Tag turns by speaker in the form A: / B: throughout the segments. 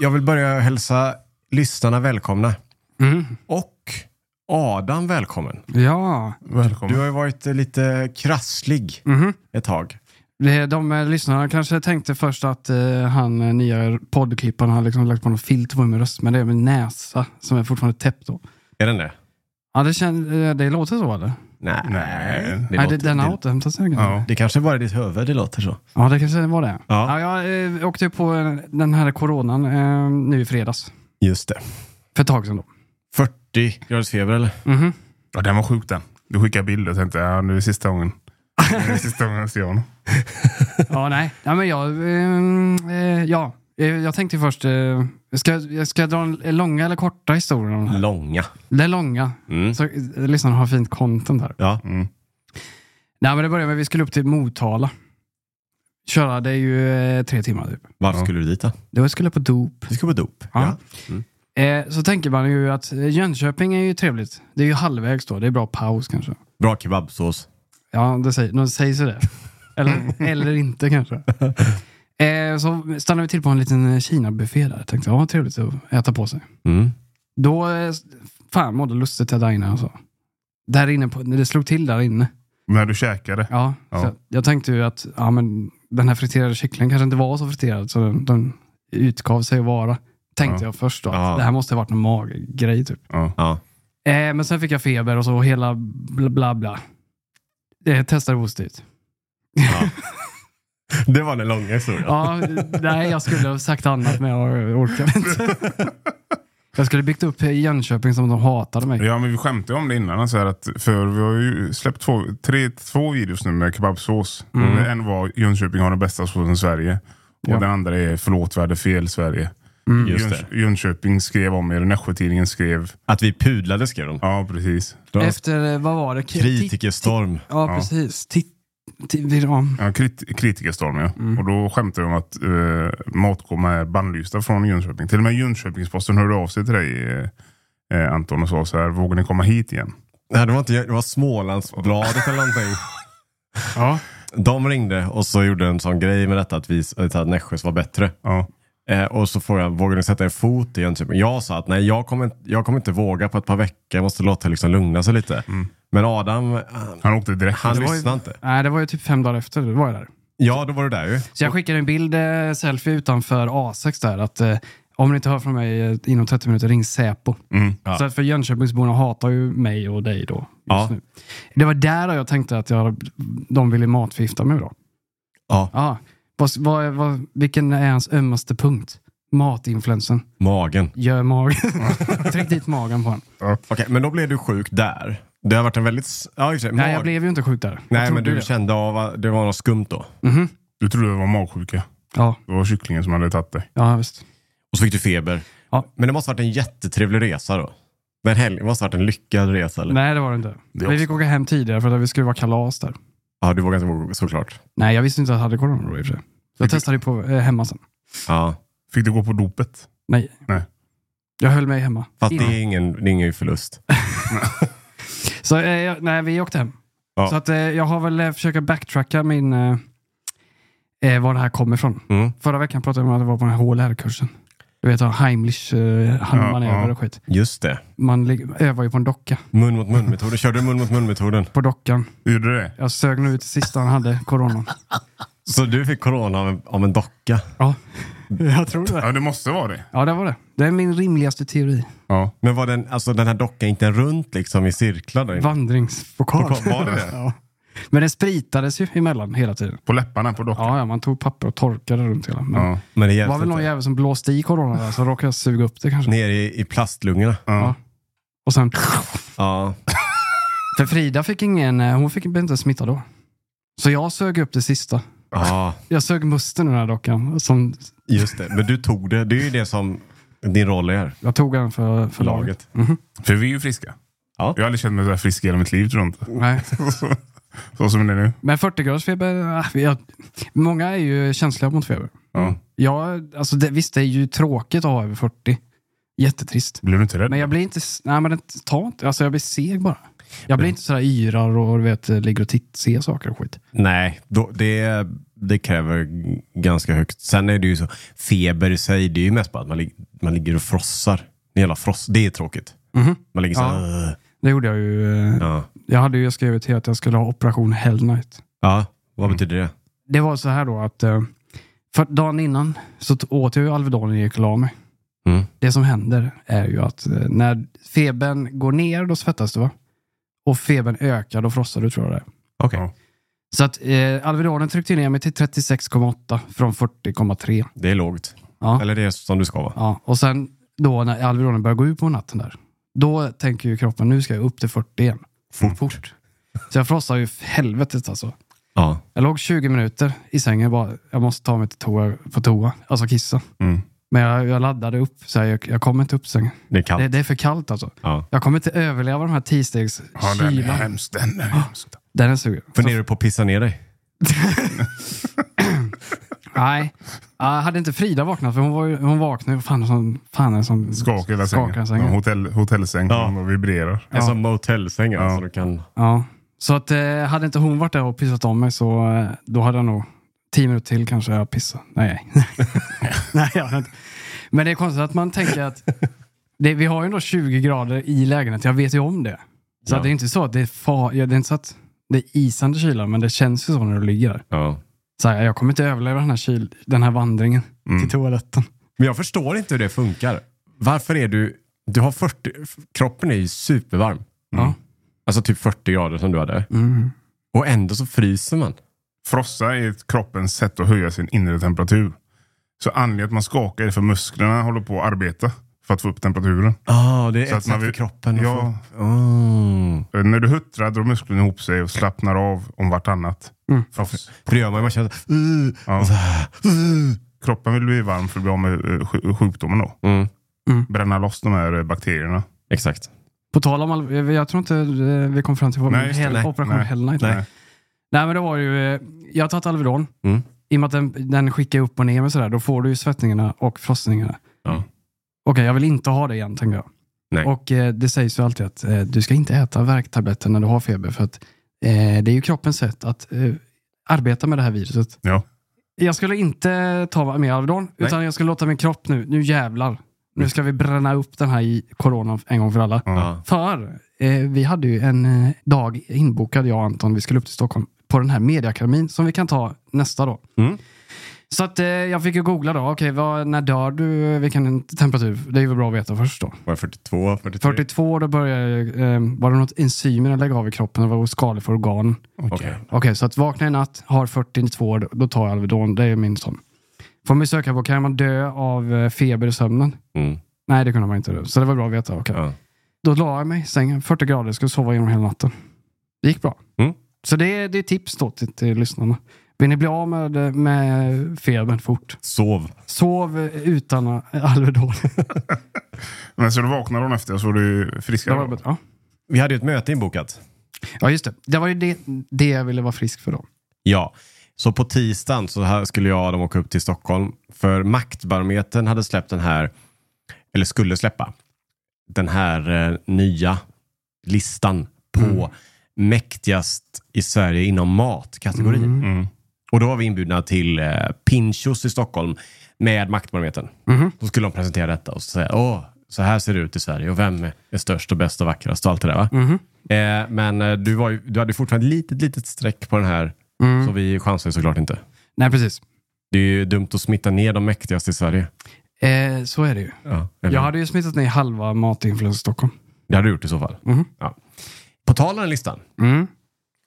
A: Jag vill börja hälsa lyssnarna välkomna. Och Adam välkommen.
B: Ja,
A: Du
C: Välkommen.
A: har ju varit eh, lite krasslig ett tag.
B: det- de eh, lyssnarna kanske tänkte först att eh, han eh, nya poddklipparen har liksom lagt på någon filter på min röst, men det är min näsa som är fortfarande täppt då.
A: Är den det?
B: Ja, det, kän, eh, det låter så eller?
A: Nej.
C: Nej.
A: Det,
B: Nej,
A: låter,
B: det, den har
A: det,
B: återhämtat sig. kanske.
C: Ja.
A: det kanske bara är ditt huvud det låter så.
B: Ja, det kanske var det.
A: Ja.
B: Ja. jag eh, åkte ju på eh, den här coronan eh, nu i fredags.
A: Just det.
B: För ett tag sedan då.
A: 40 graders feber eller?
B: Mhm.
C: Ja, den var sjuk den. Du skickade bilder och tänkte ja, nu är det sista gången. Nu är det sista gången jag ser honom.
B: Ja, nej. Ja, men jag, eh, eh, ja. Eh, jag tänkte ju först, eh, ska, jag- ska jag dra en en långa eller korta historia om det här?
A: Långa.
B: Det är långa.
A: Mm.
B: Så eh, lyssnarna har fint content här.
A: Ja.
C: Mm.
B: Nej, men det började med att vi skulle upp till Motala. Köra, det är ju eh, tre timmar typ.
A: Varför
C: Ja.
A: skulle du dit då?
B: Det var skulle på dop.
A: Vi ska på dop.
B: Ja. Eh, så tänker man ju att eh, Jönköping är ju trevligt. Det är ju halvvägs då. Det är bra paus kanske.
A: Bra kebabsås.
B: Ja, det säger, de säger så det. Eller, eller inte kanske. Eh, så stannade vi till på en liten eh, Kina-buffé där. Tänkte, ja, trevligt att äta på sig.
A: Mm.
B: Då, eh, fan mådde lustigt jag där inne alltså. Där inne, på, det slog till där inne.
C: När du käkade.
B: Ja,
C: Ja.
B: Så jag tänkte ju att ja, men den här friterade kycklingen kanske inte var så friterad så den, den utgav sig att vara. Tänkte
C: Ja.
B: jag först då. att
A: Ja.
B: Det här måste ha varit någon maggrej typ.
C: Ja.
A: Ja.
B: Eh, men sen fick jag feber och så hela bla bla bla. Eh, testade positivt.
A: Det var den långa historien.
B: Ja, nej, jag skulle ha sagt annat men jag orkade inte. Jag skulle byggt upp Jönköping som de hatade mig.
C: Ja, men vi skämtade om det innan. Alltså, här att, för vi har ju släppt två, tre, två videos nu med kebabsås.
A: Mm.
C: En var Jönköping har den bästa såsen i Sverige. Och
B: Ja.
C: den andra är Förlåt, vi hade fel Sverige.
A: Just
C: Jönköp-
A: det.
C: Jönköping skrev om er och Nässjö-Tidningen skrev.
A: Att vi pudlade skrev de.
C: Ja, precis.
A: Ja.
B: Efter, eh, vad var det? K-
A: Kritikerstorm.
B: Ja,
C: Ja.
B: precis. Titt, titt, ja.
C: Ja, krit, kritikerstorm ja. Och då skämtade de om att eh, Matkom är bannlysta från Jönköping. Till och med Jönköpingsposten hörde av sig till dig eh, eh, Anton och sa så här, vågar ni komma hit igen?
A: Nej, det var, inte, jag, det var Smålandsbladet eller någonting.
C: Ja.
A: De ringde och så gjorde en sån grej med detta att, vi, att Nässjös var bättre.
C: Ja,
A: Eh, och så frågade jag, vågar ni sätta en fot i Jönköping? Jag sa att nej, jag kommer, inte- jag kommer inte våga på ett par veckor. Jag måste låta det liksom lugna sig lite. Men Adam, eh, han,
C: han åkte direkt.
A: han
C: Mm. Det var ju-
A: lyssnade inte.
B: Nej, det var ju typ fem dagar efter. Då var jag där.
A: Ja, då var du där ju.
B: Så jag skickade en bild, eh, selfie utanför A6 där, att eh, om ni inte hör från mig eh, inom 30 minuter, ring Säpo.
C: Mm.
A: Ja.
B: Så att för Jönköpingsborna hatar ju mig och dig då. Just
A: Ja.
B: nu. Det var där jag tänkte att jag, de ville matförgifta mig då.
A: Ja.
B: Ja. Vad, vad, vad, vilken är hans ömmaste punkt? Matinfluensen.
A: Magen.
B: Gör magen. Tryck dit magen på honom.
A: Okej, men då blev du sjuk där. Det har varit en väldigt... s- Ja, i och för sig,
B: Nej, jag
A: mag-
B: blev ju inte sjuk där. Jag
A: nej
B: trodde
A: men du
B: det.
A: kände av att det var något skumt då.
B: Mhm.
C: Du trodde det var magsjuka.
B: Ja,
C: Det var kycklingen som hade tagit dig.
B: ja, visst.
A: Och så fick du feber.
B: Ja.
A: Men det måste ha varit en jättetrevlig resa då. Men helg, det måste ha varit en lyckad resa. Eller?
B: Nej, det var det inte.
C: Det
B: vi fick åka hem tidigare för att vi skulle vara kalas där.
A: Ja, du vågar inte gå såklart.
B: Nej, jag visste inte att jag hade corona då i och för sig. Så jag testade ju på eh, hemma sen.
A: Ja.
C: Fick du gå på dopet?
B: Nej.
C: Nej.
B: Jag höll mig hemma.
A: Fast det är ingen, det är ingen förlust.
B: Så eh, jag, nej, vi åkte hem.
A: Ja.
B: Så att, eh, jag har väl eh, försökt backtracka min... Eh, eh, var det här kommer ifrån.
A: Mm.
B: Förra veckan pratade jag om att jag var på den här HLR-kursen. Du vet, ha Heimlich eh, handmanöver
C: Ja, ja.
B: och skit.
A: Just det.
B: Man lig- övar ju på en docka.
A: Mun mot mun-metoden. Körde du mun mot mun-metoden?
B: På dockan.
C: Gjorde du det?
B: Jag sög nog ut det sista han hade, coronan.
A: Så du fick corona av en, av en docka?
B: Ja, jag tror det.
C: Ja, det måste vara det.
B: Ja, det var det. Det är min rimligaste teori.
C: Ja.
A: Men var den, alltså, den här dockan, gick den runt liksom i cirklar? Där inne?
B: Vandringspokal.
A: Pokal, var det det?
B: Ja. Men den spritades ju emellan hela tiden.
C: På läpparna på dockan.
B: Ja, ja, man tog papper och torkade runt hela. Men
C: Ja.
A: Men det
B: det
A: hjälpte
B: var väl någon
A: inte.
B: jävel som blåste i corona där, så råkade jag suga upp det kanske.
A: Ner i, i plastlungorna.
C: Ja.
B: Och sen...
A: Ja.
B: För Frida fick ingen... eh, Hon fick, blev inte smittad då. Så jag sög upp det sista.
A: ja,
B: Jag sög musten ur den här dockan. Som,
A: just det. Men du tog det. Det är ju det som din roll är.
B: jag tog den för, för laget.
A: Laget.
C: För vi är ju friska.
A: Ja.
C: Jag har aldrig känt mig så här frisk i hela mitt liv tror jag inte.
B: Nej.
C: Så- så som det är nu.
B: Men 40-gradersfeber... ah, Jag, många är ju känsliga mot feber.
C: Ja.
B: Ja, alltså det, visst, det är ju tråkigt att ha över 40. Jättetrist.
C: Blir du inte rädd?
B: Men jag blir inte... Nej, men det, ta inte... Alltså jag blir seg bara. Jag blir inte sådär yrar och du vet, ligger och titt, ser saker och skit.
A: Nej, då, det, det kräver g- ganska högt. Sen är det ju så, feber i sig, det är ju mest bara att man, lig- man ligger och frossar. Det är jävla fross, det är tråkigt.
B: Mhm.
A: Man ligger så här, "Åh."
B: Det gjorde jag ju. eh,
A: ja.
B: Jag hade ju skrivit till att jag skulle ha operation Hell Night.
A: ja, vad
B: Mm.
A: betyder det?
B: Det var så här då att eh, för dagen innan så t- åt jag ju Alvedon och gick och la mig.
A: Mm.
B: Det som händer är ju att eh, när febern går ner, då svettas du va? Och febern ökar, då frossar du tror jag det är.
A: Okej.
C: Ja.
B: Så att eh, Alvedonen tryckte ner mig till 36,8 från 40,3.
A: Det är lågt.
B: Ja.
A: Eller det är som du ska vara.
B: Ja, och sen då när Alvedonen börjar gå ut på natten där, då tänker ju kroppen nu ska jag upp till 40 igen.
A: Fort.
B: Så jag frossar ju för helvetet alltså.
A: Ja.
B: Jag låg 20 minuter i sängen bara, jag måste ta mig till toa, på toa, alltså kissa.
C: Mm.
B: Men jag, jag laddade upp, så här, jag, jag kommer inte upp sängen.
A: Det är kallt.
B: Det, det är för kallt alltså.
A: Ja.
B: Jag kommer inte överleva de här
C: Ja, den är
B: tisdagskylan.
C: hemskt. Den är hemskt.
B: den är suger.
A: Funderar du på att pissa ner dig?
B: Nej, Ja, hade inte Frida vaknat, för hon, var, ju- hon vaknade ju, fan, som, fan en sån
C: Skakar hela sängen.
B: skakar sängen.
C: Ja, hotell, hotellsäng.
A: Ja.
C: Och vibrerar.
A: En sån motellsäng
C: Ja.
A: alltså, du kan...
B: Ja, så att eh, hade inte hon varit där och pissat om mig så eh, då hade jag nog tio minuter till kanske jag pissat. Nej, nej. nej jag hade inte. Men det är konstigt att man tänker att det, vi har ju ändå 20 grader i lägenheten. Jag vet ju om det. Så
A: Ja.
B: att det är inte så att det är far, ja, det är inte så att det är isande kyla, men det känns ju så när du ligger där.
A: Ja.
B: Så här, jag kommer inte överleva den här, kyl, den här vandringen
C: Mm.
B: till toaletten.
A: Men jag förstår inte hur det funkar. Varför är du... Du har 40... Kroppen är ju supervarm.
B: Ja. Mm.
A: Alltså typ 40 grader som du hade. Och ändå så fryser man.
C: Frossa är ett kroppens sätt att höja sin inre temperatur. Så anledningen till att man skakar är för musklerna håller på att arbeta för att få upp temperaturen.
A: Ja, det är ett
C: Så att man
A: sätt för
C: vill-
A: kroppen. att
C: Ja.
A: få- Mm.
C: Eh, När du huttrar drar musklerna ihop sig och slappnar av om vartannat.
B: Mm.
C: Fross.
A: För det gör man ju. Man känner så- uh,
C: Ja.
A: och så här, uh.
C: Kroppen vill bli varm för att bli av med eh, sj- sjukdomen då.
A: Mm.
C: Bränna loss de här eh, bakterierna.
A: Exakt.
B: På tal om, all- jag tror inte eh, vi kom fram till vad
C: Nej, just det.
B: hel-
A: Nej,
B: operation
C: nej,
B: Hell Night.
A: nej.
B: Nej, men det var ju, eh, jag har tagit Alvedon.
A: Mm.
B: I och med att den, den skickar upp och ner mig sådär, då får du ju svettningarna och frossningarna.
A: Ja.
B: Okej, jag vill inte ha det igen, tänker jag.
A: Nej.
B: Och eh, det sägs ju alltid att eh, du ska inte äta värktabletter när du har feber, för att eh, det är ju kroppens sätt att eh, arbeta med det här viruset.
C: Ja.
B: Jag skulle inte ta mer Alvedon, utan jag skulle låta min kropp nu, nu jävlar, nu ska vi bränna upp den här i coronan en gång för alla.
A: Mm. Ja.
B: För eh, vi hade ju en eh, dag inbokad, jag och Anton, vi skulle upp till Stockholm på den här mediakademin som vi kan ta nästa då.
A: Mm.
B: Så att eh, jag fick ju googla då, okej, vad- när dör du, vilken temperatur? Det är väl bra att veta först då.
A: Var det 42? 43?
B: 42, då började jag, eh, var det något enzymer jag lägger av i kroppen, det var skador för organ.
C: Okej.
A: Okej.
B: Okej, så att vakna i natt, har 42, då- då tar jag Alvedon, det är min sån. Får man ju söka på, kan man dö av eh, feber i sömnen?
A: Mm.
B: Nej, det kunde man inte. Så det var bra att veta. okej.
A: Ja.
B: Då la jag mig i sängen, 40 grader, skulle sova genom hela natten. Det gick bra.
A: Mm.
B: Så det, är- det är tips då till, till lyssnarna. Vill ni bli av med, med febern fort,
A: Sov.
B: sov utan Alvedon.
C: Men så du vaknar dagen efter så är du
B: Det
C: friskare?
B: var
C: då?
B: bra.
A: Vi hade ju ett möte inbokat.
B: Ja, just det. Det var ju det, det jag ville vara frisk för då.
A: Ja, så på tisdagen så här skulle jag och de åka upp till Stockholm. För Maktbarometern hade släppt den här, eller skulle släppa, den här eh, nya listan på mäktigast i Sverige inom matkategorin.
C: Mm.
A: Och då var vi inbjudna till eh, Pinchos i Stockholm med Maktbarometern. Då skulle de presentera detta och säga åh, så här ser det ut i Sverige och vem är störst och bäst och vackrast och allt det där. Va? Eh, men eh, du, var ju, du hade fortfarande ett litet, litet streck på den här,
B: Mm.
A: så vi chansar ju såklart inte.
B: Nej, precis.
A: Det är ju dumt att smitta ner de mäktigaste i Sverige.
B: Eh, så är det ju.
A: Ja, eller?
B: Jag hade ju smittat ner halva matinfluencer Stockholm.
A: Det hade du gjort i så fall. Ja. På tal om den listan
B: Mm.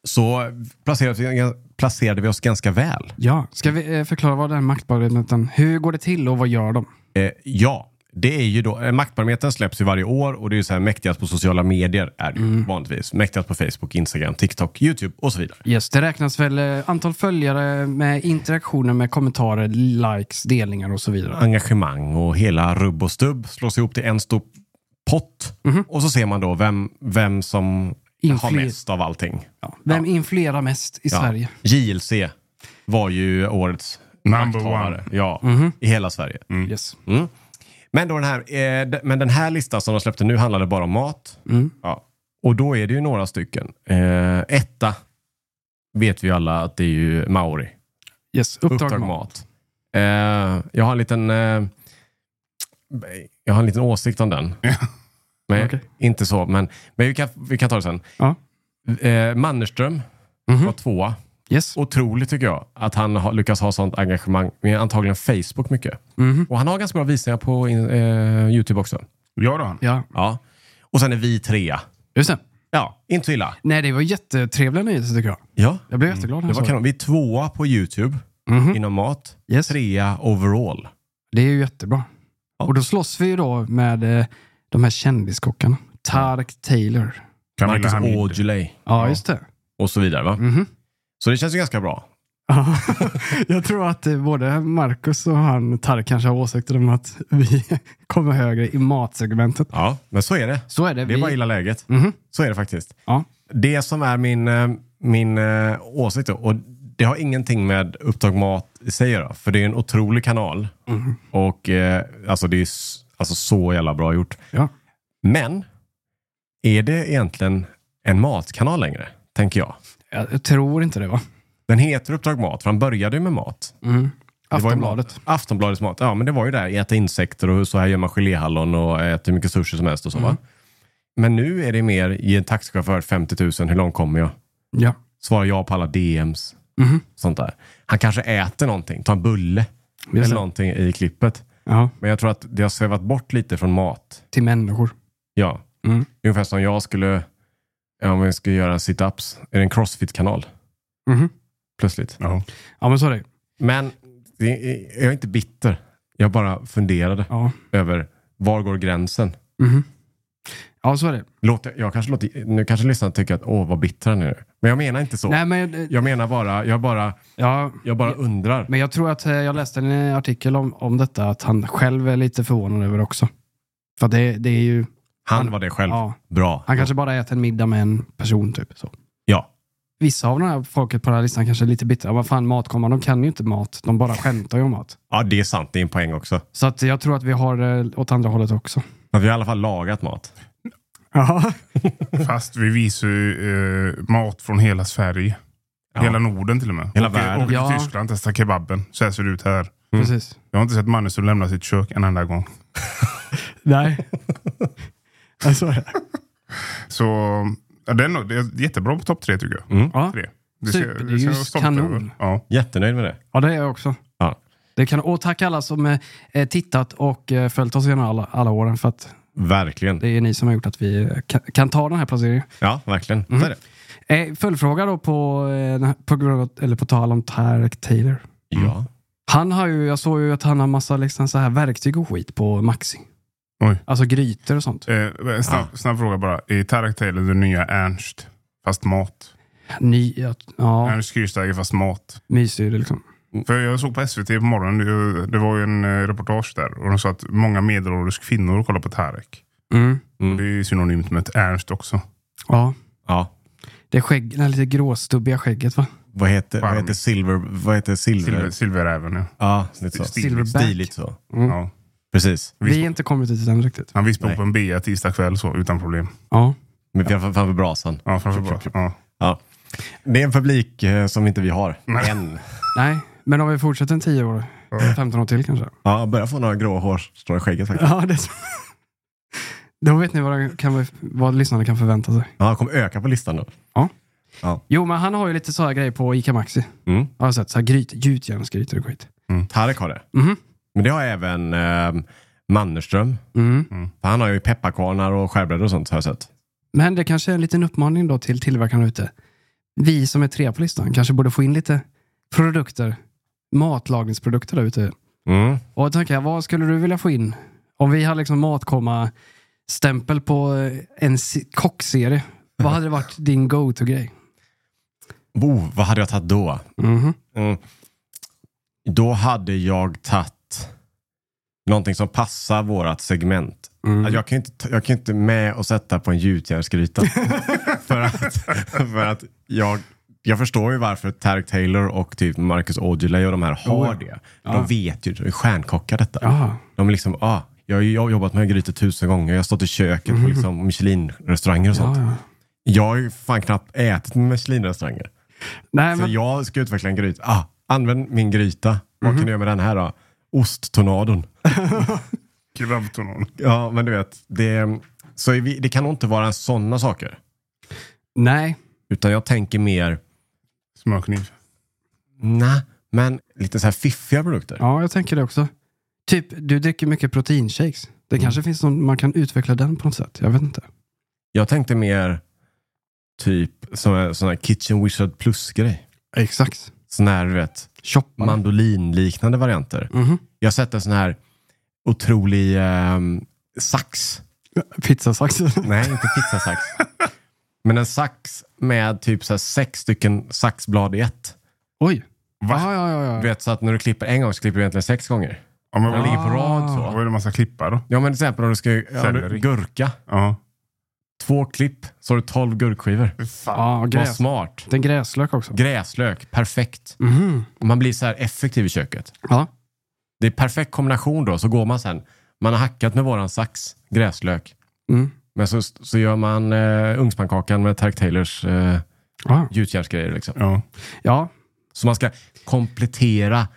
A: så placerade vi, placerade vi oss ganska väl.
B: Ja, ska vi eh, förklara vad den maktbarheten, hur går det till och vad gör de?
A: Eh, ja, det är ju då, eh, Maktbarometern släpps ju varje år och det är ju så här mäktigast på sociala medier är det ju
B: Mm.
A: vanligtvis. Mäktigast på Facebook, Instagram, TikTok, YouTube och så vidare.
B: Yes, det räknas väl eh, antal följare med interaktioner med kommentarer, likes, delningar och så vidare.
A: Engagemang och hela rubb och stubb slås ihop till en stor pott och så ser man då vem, vem som har
B: Infly-
A: mest av allting.
B: Ja. Vem influerar mest i
A: Ja.
B: Sverige?
A: JLC var ju årets
C: Number
A: makthavare.
C: one. Mm.
A: Ja, i hela Sverige.
B: Yes.
A: Men, då den här, eh, d- men den här listan som de släppte nu handlade bara om mat. Ja. Och då är det ju några stycken. Eh, etta vet vi ju alla att det är ju Maori.
B: Yes. Uppdrag,
A: Uppdrag
B: mat.
A: mat. Eh, jag har en liten eh, jag har en liten åsikt om den. men,
B: Okej.
A: Inte så, men, men vi, kan, vi kan ta det sen.
B: Ja.
A: Eh, Mannerström
B: Mhm.
A: var tvåa.
B: Yes.
A: Otroligt tycker jag att han har, lyckas ha sånt engagemang med antagligen Facebook mycket.
B: Mhm.
A: Och han har ganska bra visningar på in, eh, YouTube också.
C: Ja då.
B: Ja,
A: Ja. Och sen är vi trea.
B: just det.
A: Ja, inte så illa.
B: Nej, det var jättetrevliga nyheter tycker jag.
A: Ja.
B: Jag blev jätteglad när
A: Mm. Det var
B: jag såg det.
A: kanon. Vi är tvåa på YouTube
B: Mhm.
A: inom mat.
B: Yes.
A: Trea overall.
B: Det är ju jättebra. Och då slåss vi ju då med eh, de här kändiskockarna. Tarek Taylor.
C: Camilla
A: Marcus
C: Hamid.
A: Aujalay
B: Ja, just det.
A: och så vidare. Va?
B: Mhm.
A: Så det känns ju ganska bra.
B: Ja. jag tror att eh, både Marcus och han Tarek kanske har åsikter om att vi kommer högre i matsegmentet.
A: Ja, men så är det.
B: Så är det.
A: Det är bara illa läget.
B: Mhm.
A: Så är det faktiskt.
B: Ja.
A: Det som är min, eh, min eh, åsikt då, och det har ingenting med Uppdrag Mat i sig att göra, för det är en otrolig kanal. Och eh, alltså det är s- alltså, så jävla bra gjort.
B: Ja.
A: Men, är det egentligen en matkanal längre? Tänker jag.
B: Jag, jag tror inte det va? Mhm.
A: Den heter Uppdrag Mat, för han började ju med mat. Det var ju
B: Aftonbladet.
A: mat- Aftonbladets mat. Ja, men det var ju där. Äta insekter och så här gör man geléhallon och äter hur mycket sushi som helst och så.
B: Mm.
A: Va? Men nu är det mer, ge en taxichaufför 50 000, hur långt kommer jag?
B: Ja. Mhm.
A: Svara ja på alla DMs. Sånt där. Han kanske äter någonting, tar en bulle
B: Just
A: eller
B: det.
A: någonting i klippet.
B: ja.
A: Men jag tror att det har svävat bort lite från mat.
B: Till människor.
A: Ja.
B: Mm.
A: Ungefär som jag skulle, ja, om vi skulle göra sit-ups, är det en crossfit-kanal
B: Mhm.
A: plötsligt?
C: Ja.
B: Ja, men så är det.
A: Men det är, jag är inte bitter. Jag bara funderade
B: Ja.
A: över var går gränsen?
B: Mhm. Ja, så är det.
A: Låter, jag kanske låter, nu kanske lyssnarna tycker att åh vad bitter han är. Men jag menar inte så.
B: Nej, men, eh,
A: Jag menar bara, jag bara,
B: ja,
A: jag bara undrar.
B: men jag tror att eh, jag läste en artikel om, om detta, att han själv är lite förvånad över det också. För det, det är ju,
A: Han var det själv.
B: ja,
A: Bra.
B: han kanske bara äter en middag med en person typ. Så.
A: Ja.
B: Vissa av den här folket på den här listan kanske är lite bittra. Vad fan, matkommar, de kan ju inte mat. De bara skämtar ju om mat.
A: ja, det är sant. Det är en poäng också.
B: Så att jag tror att vi har eh, åt andra hållet också.
A: Men vi har i alla fall lagat mat.
B: Ja,
C: Fast vi visar ju eh, mat från hela Sverige. Hela Norden till och med.
A: Hela
C: Åker-
A: världen.
C: Åker till
B: Ja.
C: Tyskland, testa kebaben. Så här ser det ut här.
B: precis.
C: Jag har inte sett Magnus som lämna sitt kök en enda gång.
B: Nej. Ja, så är det.
C: Så ja, det, är nog, det är jättebra på topp tre tycker jag.
B: Ja.
C: Tre.
B: Super, det är ju
C: jag vara stolt
B: kanon.
C: över. Ja.
A: Jättenöjd med det.
B: ja, det är jag också.
A: Ja.
B: Det kan, och tack alla som eh, eh, tittat och eh, följt oss genom alla, alla åren för att
A: Verkligen.
B: det är ni som har gjort att vi eh, kan, kan ta den här placeringen.
A: Ja, verkligen. Så är det.
B: Eh, följdfråga då på, eh, den här- på, grund av, eller på tal om Tarek Taylor.
A: Ja.
B: Mm. Han har ju, jag såg ju att han har massa liksom så här verktyg och skit på Maxi.
C: Oj.
B: Alltså grytor och sånt.
C: Eh, en snabb,
B: Ah.
C: snabb fråga bara. Är Tarak Taylor den nya Ernst? Fast mat.
B: Ny, ja,
C: Ernst Kirchsteiger fast mat.
B: mysig liksom.
C: För jag såg på SVT på morgonen, det, det var ju en eh, reportage där. Och de sa att många medelålders kvinnor kollar på Tarek.
B: Mm.
C: Det är ju synonymt med ett Ernst också.
B: Ja,
A: ja.
B: det är skägg, det här lite gråstubbiga skägget va?
A: Vad heter, vad
C: Charmigt.
A: heter silver? Vad heter silver?
C: Silver, Silveräven ja.
A: Ja, lite så.
C: Stiligt.
B: Silverback.
A: Stiligt så.
B: Mm.
C: ja.
A: Precis.
B: Vi har inte kommit dit än riktigt.
C: Han vispade
A: Nej.
C: upp en bea tisdag kväll så, utan problem.
B: Ja.
A: Men vi har framför brasan.
C: Ja, framför bara. Ja.
A: Ja. Det är en publik eh, som inte vi har.
C: Nej.
A: Än.
B: Nej, men om vi fortsätter en 10 år, 15 år till kanske.
A: Ja, jag börjar få några grå hårstrån i skägget faktiskt.
B: Ja, det är så. Då vet ni vad, det kan, vad lyssnarna kan förvänta sig.
A: Ja, jag kommer öka på listan då.
B: Jo, men han har ju lite sådana grejer på ICA Maxi.
A: Mm.
B: Jag har sett så här gryt, gjutjärnsgrytor och skit.
A: Tarek har det.
B: Mhm.
A: Men det har även eh, Mannerström.
B: Mm.
A: För han har ju pepparkvarnar och skärbrädor och sånt har jag sett.
B: Men det kanske är en liten uppmaning då till tillverkarna ute. Vi som är tre på listan kanske borde få in lite produkter, matlagningsprodukter där ute.
A: Mm.
B: Och då tänker jag, vad skulle du vilja få in? Om vi hade liksom matkomma-stämpel på eh, en se- kockserie, vad hade det varit din go-to-grej?
A: Oh, vad hade jag tagit då?
B: Mhm.
A: Mm. Då hade jag tagit någonting som passar vårt segment.
B: Mm.
A: Alltså, Jag, kan ju inte, ta- jag kan ju inte med och sätta på en gjutjärnsgryta. för att, för att jag, jag förstår ju varför Tarek Taylor och typ Marcus Aujalay och de här har
B: Oh,
A: det. De vet ju, de är stjärnkockar detta.
B: Ja.
A: De är liksom, ah, jag, har ju- jag har jobbat med grytor tusen gånger. Jag har stått i köket på liksom Michelin-restauranger och sånt.
B: Mm-hmm. Ja, ja.
A: Jag har ju fan knappt ätit med Michelin-restauranger.
B: Nej,
A: Så
B: men,
A: Alltså, jag ska utveckla en gryta. Ah, använd min gryta. Vad
B: Mhm.
A: kan du göra med den här då? Osttornadon.
C: Grabbtornadon.
A: Ja, men du vet. Det, så är vi, det kan nog inte vara sådana saker.
B: nej.
A: Utan jag tänker mer,
C: Smörkniv.
A: nej, men lite så här fiffiga produkter.
B: Ja, jag tänker det också. Typ, du dricker mycket proteinshakes. Det kanske finns någon, man kan utveckla den på något sätt. Jag vet inte.
A: Jag tänkte mer typ sån sån här Kitchen Wizard plus-grej.
B: Exakt.
A: Sån här, du vet,
B: Shoppar.
A: mandolinliknande varianter.
B: Mhm.
A: Jag har sett en sån här otrolig ehm, sax.
B: Pizzasaxen.
A: Nej, inte pizzasax. Men en sax med typ så här sex stycken saxblad i ett.
B: Oj.
C: Va?
B: Ja, ja, ja.
A: Du
B: ja.
A: vet, så att när du klipper en gång så klipper du egentligen sex gånger.
C: Ja, men
A: Den ligger
C: vad,
A: på rad
C: vad
A: så.
C: är det man ska klippa då?
A: Ja, men till exempel om du ska ja,
C: Selleri.
A: du, gurka.
C: Ja.
A: Två klipp, så har du tolv gurkskivor.
C: Fy fan.
B: ja och
A: Vad
B: gräs.
A: smart.
B: Den gräslök också.
A: Gräslök, perfekt.
B: Mhm.
A: Man blir så här effektiv i köket.
B: Ja.
A: Det är perfekt kombination då, så går man sen. Man har hackat med våran sax, gräslök.
B: Mm.
A: Men så, så gör man eh, ugnspannkakan med Tarek Taylors eh,
B: Ja.
A: gjutjärnsgrejer. Liksom.
C: Ja.
B: ja.
A: Så man ska komplettera,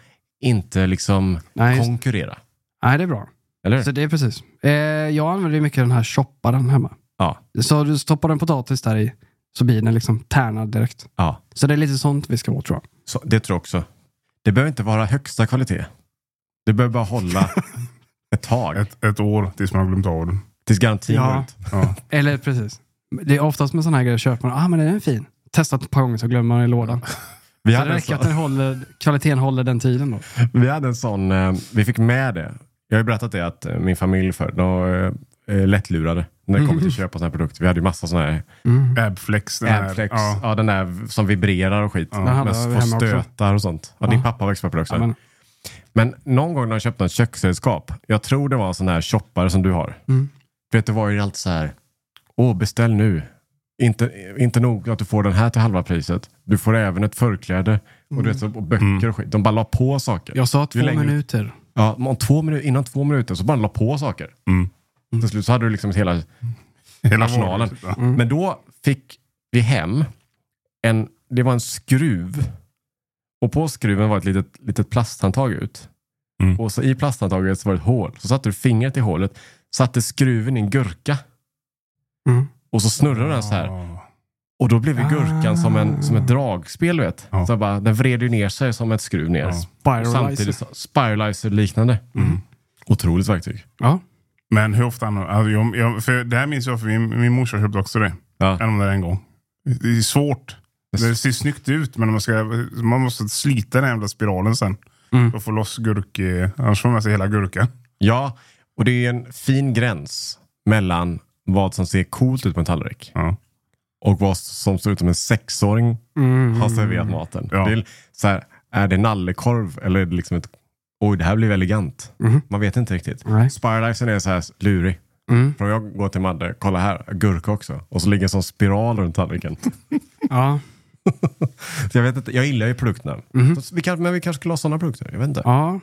A: inte liksom
B: Nej, just-
A: konkurrera.
B: Nej, det är bra.
A: Eller hur?
B: Så det är precis. Eh, jag använder ju mycket den här shopparen hemma.
A: Ja.
B: Så du stoppar en potatis där i så blir den liksom tärnad direkt.
A: ja.
B: Så det är lite sånt vi ska åt tror jag.
A: Så, det tror jag också. Det behöver inte vara högsta kvalitet. Det behöver bara hålla ett tag.
C: Ett, ett år tills man har glömt av den.
A: Tills garantin
B: Ja.
A: går ut.
C: Ja.
B: Eller precis. Det är oftast med såna här grejer köper man, ah men den är fin. Testat ett par gånger så glömmer man i lådan.
A: Vi
B: Så det
A: hade, en
B: räcker att
A: sån,
B: den håller, kvaliteten håller den tiden då.
A: vi hade en sån, eh, vi fick med det. Jag har ju berättat det att eh, min familj förr, de var eh, lättlurade när det kommer till att köpa sådana här produkter. Vi hade ju massa sådana här
C: Abflex. Den här.
A: Amflex, ja.
C: Ja.
A: den där som vibrerar och skit.
B: Den
A: Ja.
B: hade
A: Med
B: jag
A: får
B: hemma också.
A: stötar och sånt. Ja, din
B: Ja.
A: pappa var expert på det också.
B: Ja, men-
A: men... någon gång när jag köpte ett köksredskap, jag tror det var en sån här shoppare som du har.
B: Mm.
A: För att det var ju alltid så här, åh beställ nu. Inte, inte nog att du får den här till halva priset, du får även ett förkläde och, du vet, så- och böcker och skit. De bara la på saker.
B: Jag sa två
A: Ju längre-
B: minuter.
A: Ja, om två minu- innan två minuter så bara la på saker.
C: Mm.
A: Till slut så hade du liksom ett hela
C: Hela
A: arsenalen.
C: varuhuset, ja.
A: Men då fick vi hem en, det var en skruv. Och på skruven var ett litet, litet plasthandtag ut.
C: Mm.
A: Och så i plasthandtaget så var det ett hål. Så satte du fingret i hålet, satte skruven i en gurka
B: Mm.
A: och så snurrade den så här.
C: Ja. Ah.
A: Och då blev ju gurkan som, en, som ett dragspel, du vet.
C: Ja.
A: Så bara, den vred ju ner sig som ett skruv ner.
C: Ja.
A: Och
B: Spiralizer.
A: samtidigt så- spiralizer-liknande.
C: Mm.
A: Otroligt verktyg.
B: Ja.
C: Men hur ofta använder alltså, jag, jag, för Det här minns jag, för min, min morsa köpte också det.
A: Ja.
C: Jag använde det en gång. Det är svårt. Det ser snyggt ut, men man, ska, man måste slita den jävla spiralen sen.
B: Mm.
C: För att få loss gurk... Annars får man med sig hela gurkan.
A: Ja, och det är en fin gräns mellan vad som ser coolt ut på en tallrik
C: Ja.
A: och vad som ser ut som en sexåring har serverat maten.
C: Ja.
A: Det är, så här, är det nallekorv eller är det liksom ett... Oj, det här blev elegant.
B: Mhm.
A: Man vet inte riktigt.
B: Nej.
A: Spiralizern är så här lurig.
B: Mm.
A: För om jag går till Madde, kolla här, gurka också. Och så ligger en sån spiral runt tallriken.
B: Ja.
A: så jag, vet inte, jag gillar ju produkterna. Så vi kan, men vi kanske skulle ha sådana produkter. Jag vet inte.
B: ja.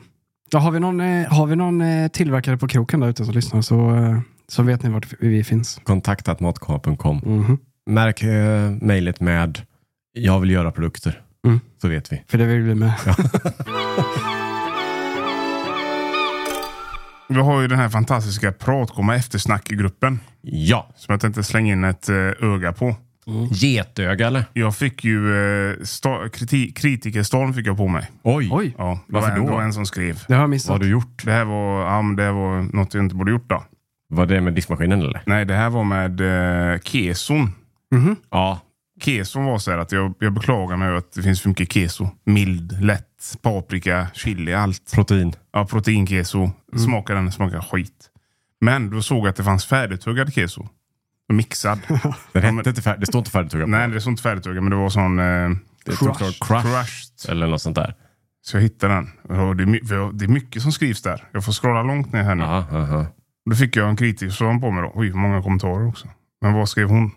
B: ja har, vi någon, eh, har vi någon eh, tillverkare på kroken där ute som lyssnar så, eh, så vet ni vart vi finns.
A: Kontaktat matkoa.com.
B: Mhm.
A: Märk eh, mejlet med jag vill göra produkter.
B: Mm.
A: Så vet vi.
B: För det vill vi med.
C: Vi har ju den här fantastiska Pratkomma eftersnack i gruppen.
A: Ja.
C: Som jag tänkte slänga in ett eh, öga på.
A: Getöga eller?
C: Jag fick ju eh, sta- kriti- kritikerstorm fick jag på mig.
A: Oj.
B: Oj,
C: Ja, det
A: Varför
C: var en,
A: då?
C: Det var en som skrev.
B: det har jag
A: Vad har
B: missat.
A: du gjort?
C: Det här var, ja, men det här var något jag inte borde gjort då.
A: Var det med diskmaskinen eller?
C: Nej, det här var med eh, keson.
A: Ja.
C: Keson var så här att jag, jag beklagar mig över att det finns för mycket keso. Mild, lätt, paprika, chili, allt.
A: Protein.
C: Ja, proteinkeso.
A: Mm.
C: Smakar den, smakar skit. Men då såg jag att det fanns färdigtuggad keso. Mixad.
A: Den
C: Ja,
A: hette
C: men-
A: inte fär- det står inte färdigtuggat på.
C: Nej, det är sånt färdigtuggad, men det var sån... Eh,
A: Det står crushed.
C: crushed.
A: Eller något sånt där.
C: Så jag hittade den. Och det, är my- vi har- det är mycket som skrivs där. Jag får scrolla långt ner här nu.
A: Aha, aha.
C: Då fick jag en kritikerstorm på mig då. Oj, många kommentarer också. Men vad skrev hon?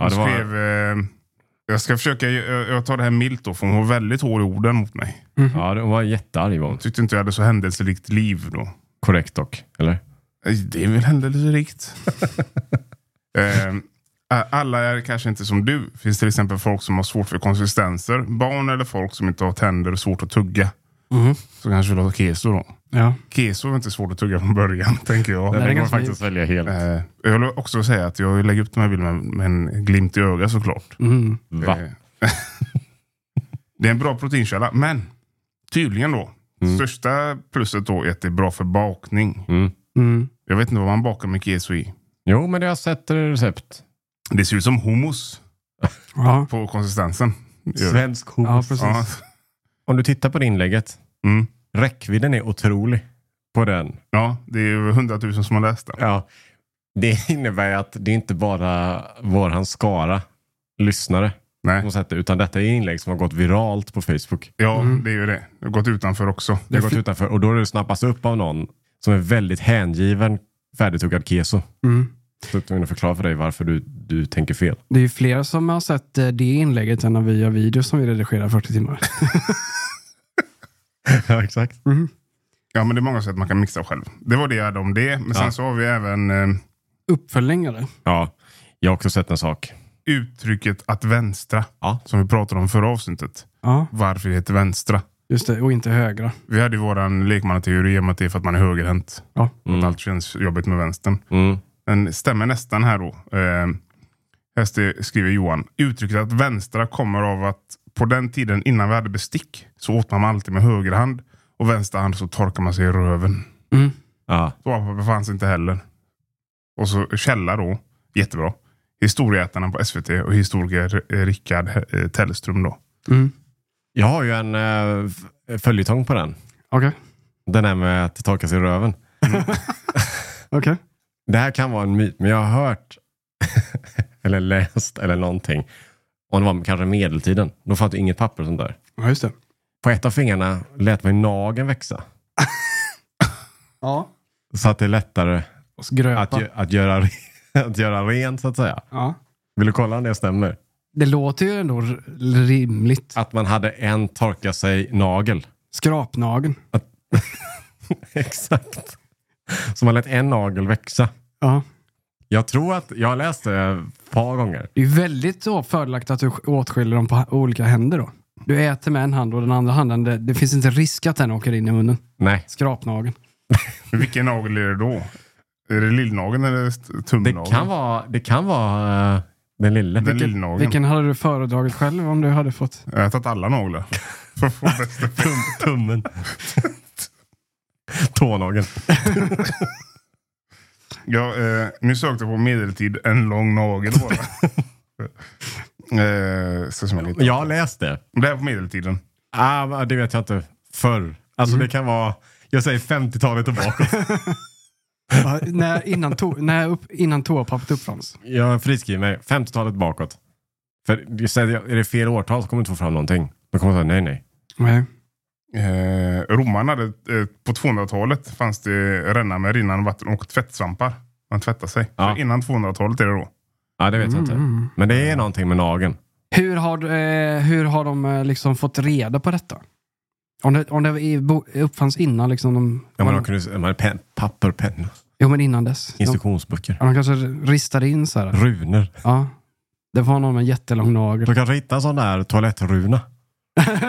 A: Ja, det
C: Hon
A: var...
C: skrev... Eh, jag ska försöka... Jag, jag tar det här milt då, för hon var väldigt hård i orden mot mig.
A: Ja, det var jättearg var hon.
C: Tyckte inte jag hade så händelserikt liv då.
A: Korrekt dock, eller?
C: Eh, Det är väl händelserikt. eh, a- alla är kanske inte som du. Finns till exempel folk som har svårt för konsistenser. Barn eller folk som inte har tänder och svårt att tugga.
B: Mhm.
C: Så kanske vill ha keso då.
B: Ja.
C: Keso är inte svårt att tugga från början, tänker jag.
B: är
A: Den går
B: ganska
A: faktiskt välja helt.
C: Eh, jag vill också säga att jag lägger upp de här bilderna med, med en glimt i ögat såklart.
B: Mm.
A: Va?
C: Eh, det är en bra proteinkälla, men tydligen då. Största plusset då är att det är bra för bakning.
A: Mm.
B: Mm.
C: Jag vet inte vad man bakar med keso i.
A: Jo, men jag har sett recept.
C: Det ser ut som hummus
B: Ja.
C: på konsistensen. Gör det.
A: Svensk hummus.
B: ja, precis.
C: Ja.
A: Om du tittar på det inlägget.
C: Mm.
A: Räckvidden är otrolig på den.
C: ja, det är över hundratusen som har läst den.
A: Ja. Det innebär ju att det inte bara var hans skara lyssnare som har
C: Nej.
A: sett det, utan detta är inlägg som har gått viralt på Facebook.
C: Ja, det är ju det. Jag har gått utanför också.
A: Mm. Det har gått utanför och då är det snappats upp av någon som är väldigt hängiven färdigtuggad keso.
B: Mm.
A: Så jag vill förklara för dig varför du, du tänker fel.
B: Det är ju fler som har sett eh, det inlägget än när vi gör videos som vi redigerar 40 timmar.
A: Ja, exakt.
C: Ja, men det är många sätt man kan mixa själv. Det var det jag hade om det. Men sen
A: Ja.
C: så har vi även eh,
B: Uppföljare.
A: Ja, jag har också sett en sak.
C: uttrycket att vänstra.
A: Ja.
C: Som vi pratade om förra avsnittet.
B: Ja,
C: Varför det heter vänstra.
B: just det. Och inte högra.
C: Vi hade ju våran lekmannateori om att det är för att man är högerhänt.
B: Ja.
C: Och att allt känns jobbigt med vänstern.
A: Mm.
C: Den stämmer nästan här då. Eh, här st- skriver Johan. Uttrycket att vänstra kommer av att på den tiden innan vi hade bestick så åt man alltid med höger hand. Och vänster hand så torkar man sig i röven.
B: Mm.
A: Ja.
C: Toapapper fanns inte heller. Och så källa då. Jättebra. Historieätarna på SVT och historiker eh, Rickard eh, Tellström då.
B: Mm.
A: Jag har ju en eh, f- följetong på den.
B: Okej. Okay.
A: Den här med att torka sig i röven.
B: Okej.
A: Det här kan vara en myt, men jag har hört eller läst eller någonting. Om det var kanske medeltiden. Då fanns det inget papper och sånt där.
B: Ja, just det.
A: På ett av fingrarna lät man ju nageln växa.
B: Ja.
A: Så att det är lättare
B: Och så gröpa.
A: att, gö- att, göra, re- att göra rent så att säga.
B: ja.
A: Vill du kolla om det stämmer?
B: Det låter ju ändå r- rimligt.
A: Att man hade en torka sig nagel.
B: Skrapnageln.
A: Exakt. Så man lät en nagel växa.
B: Ja.
A: Jag tror att jag har läst det ett par gånger.
B: Det är ju väldigt så fördelaktigt att du åtskiljer dem på ha- olika händer då. Du äter med en hand och den andra handen, det, det finns inte risk att den åker in i munnen.
A: Nej,
B: Skrapnageln.
C: Men Vilken nagel är det då? Är det lillnageln eller st-
A: det
C: tumnageln?
A: kan vara, det kan vara eh, den lille.
C: Den
A: Vilken-
C: lillnageln.
B: Vilken hade du föredragit själv om du hade fått?
C: Jag har tagit alla naglar. För att få bästa.
A: Tum, tummen. Tånageln.
C: Ja, eh, nu sökte jag på medeltid, en lång nagel bara. eh, så som jag lite.
A: Jag har läst det.
C: Det här på medeltiden.
A: Ah, men det vet jag inte. Förr. Alltså det kan vara, jag säger 50-talet och bakåt.
B: Ja, när, innan, to, när upp, innan toapappret uppfanns.
A: Jag friskriver mig 50-talet bakåt. För det- säger jag- är det fel årtal så kommer du inte få fram någonting. Då kommer jag säga nej, nej.
B: Nej.
C: Eh, romarna hade, eh, på 200-talet fanns det ränna med rinnande vatten och tvättsvampar. Man tvättar sig.
A: Ja.
C: Så Innan 200-talet är det då.
A: Ja, Ah, det vet jag inte.
B: Mm.
A: Men det är någonting med nageln.
B: Hur har, eh, hur har de eh, liksom fått reda på detta? Om det, om det i- bo- uppfanns innan liksom de...
A: Ja, men de kunde, man pen, papper, penna,
B: jo, men innan dess. De,
A: instruktionsböcker,
B: ja, de kanske ristade in så här.
A: runor.
B: Ja. Det var någon med en jättelång nagel.
A: Du kanske hittar en sån där toalettruna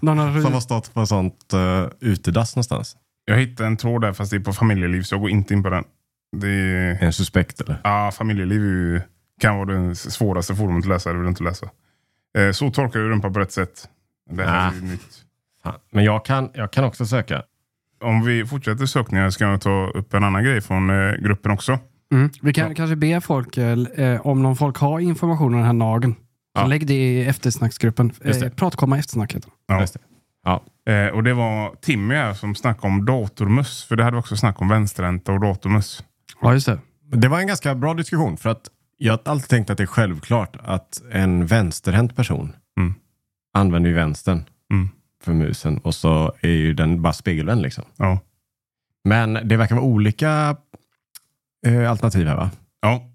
B: Någon har
A: som har stått på ett sånt uh, utedass någonstans.
C: Jag hittade en tråd där fast det är på familjeliv så jag går inte in på den. Det är,
A: En suspekt eller?
C: ja, familjeliv är ju, kan vara det svåraste forumet att läsa. Det vill jag inte läsa. Eh, så torkar du rumpan på rätt sätt. Det här är ju nytt.
A: Fan. Men jag kan, jag kan också söka.
C: Om vi fortsätter sökningar ska jag ta upp en annan grej från eh, gruppen också.
B: Mm. Vi kan kanske be folk, eh, om någon folk har information om den här nageln, så
C: Ja.
B: lägg det i eftersnacksgruppen.
A: Just det.
B: Eh, pratkomma eftersnack heter
C: Ja.
A: Just det. Ja.
C: Eh, och det var Timmy här som snackade om datormöss. För det hade vi också snack om vänsterhänta och datormöss.
B: Ja, just det.
A: Det var en ganska bra diskussion för att jag har alltid tänkt att det är självklart att en vänsterhänt person
C: Mm.
A: använder ju vänstern
C: Mm.
A: för musen och så är ju den bara spegelvänd liksom.
C: Ja.
A: Men det verkar vara olika eh, alternativ här va?
C: ja.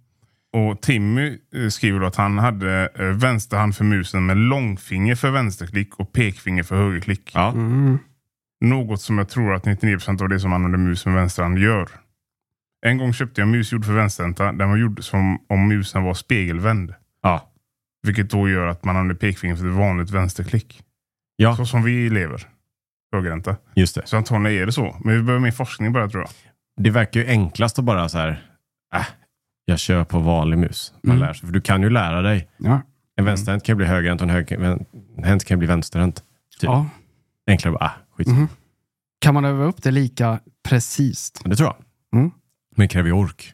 C: Och Timmy eh, skriver då att han hade eh, vänsterhand för musen med långfinger för vänsterklick och pekfinger för högerklick.
A: Ja.
B: Mm.
C: Något som jag tror att 99% av det som använder mus med vänsterhand gör. En gång köpte jag en mus gjord för vänsterhänta. Den var gjord som om musen var spegelvänd.
A: Ja.
C: Vilket då gör att man använder pekfingret för ett vanligt vänsterklick.
A: Ja.
C: Så som vi lever. Högerhänta.
A: Just det.
C: Så antagligen är det så. Men vi behöver mer forskning på det här, tror jag.
A: Det verkar ju enklast att bara så här, äh, jag kör på vanlig mus. Man
B: Mm.
A: lär sig, för du kan ju lära dig.
B: Ja.
A: En vänsterhänt kan ju bli högerhänt och en högerhänt kan ju bli vänsterhänt. Typ.
B: ja.
A: Enklare bara, äh, skit.
B: Mm. Kan man öva upp det lika precis?
A: Det tror jag.
B: Mm.
A: Men det kräver ju ork.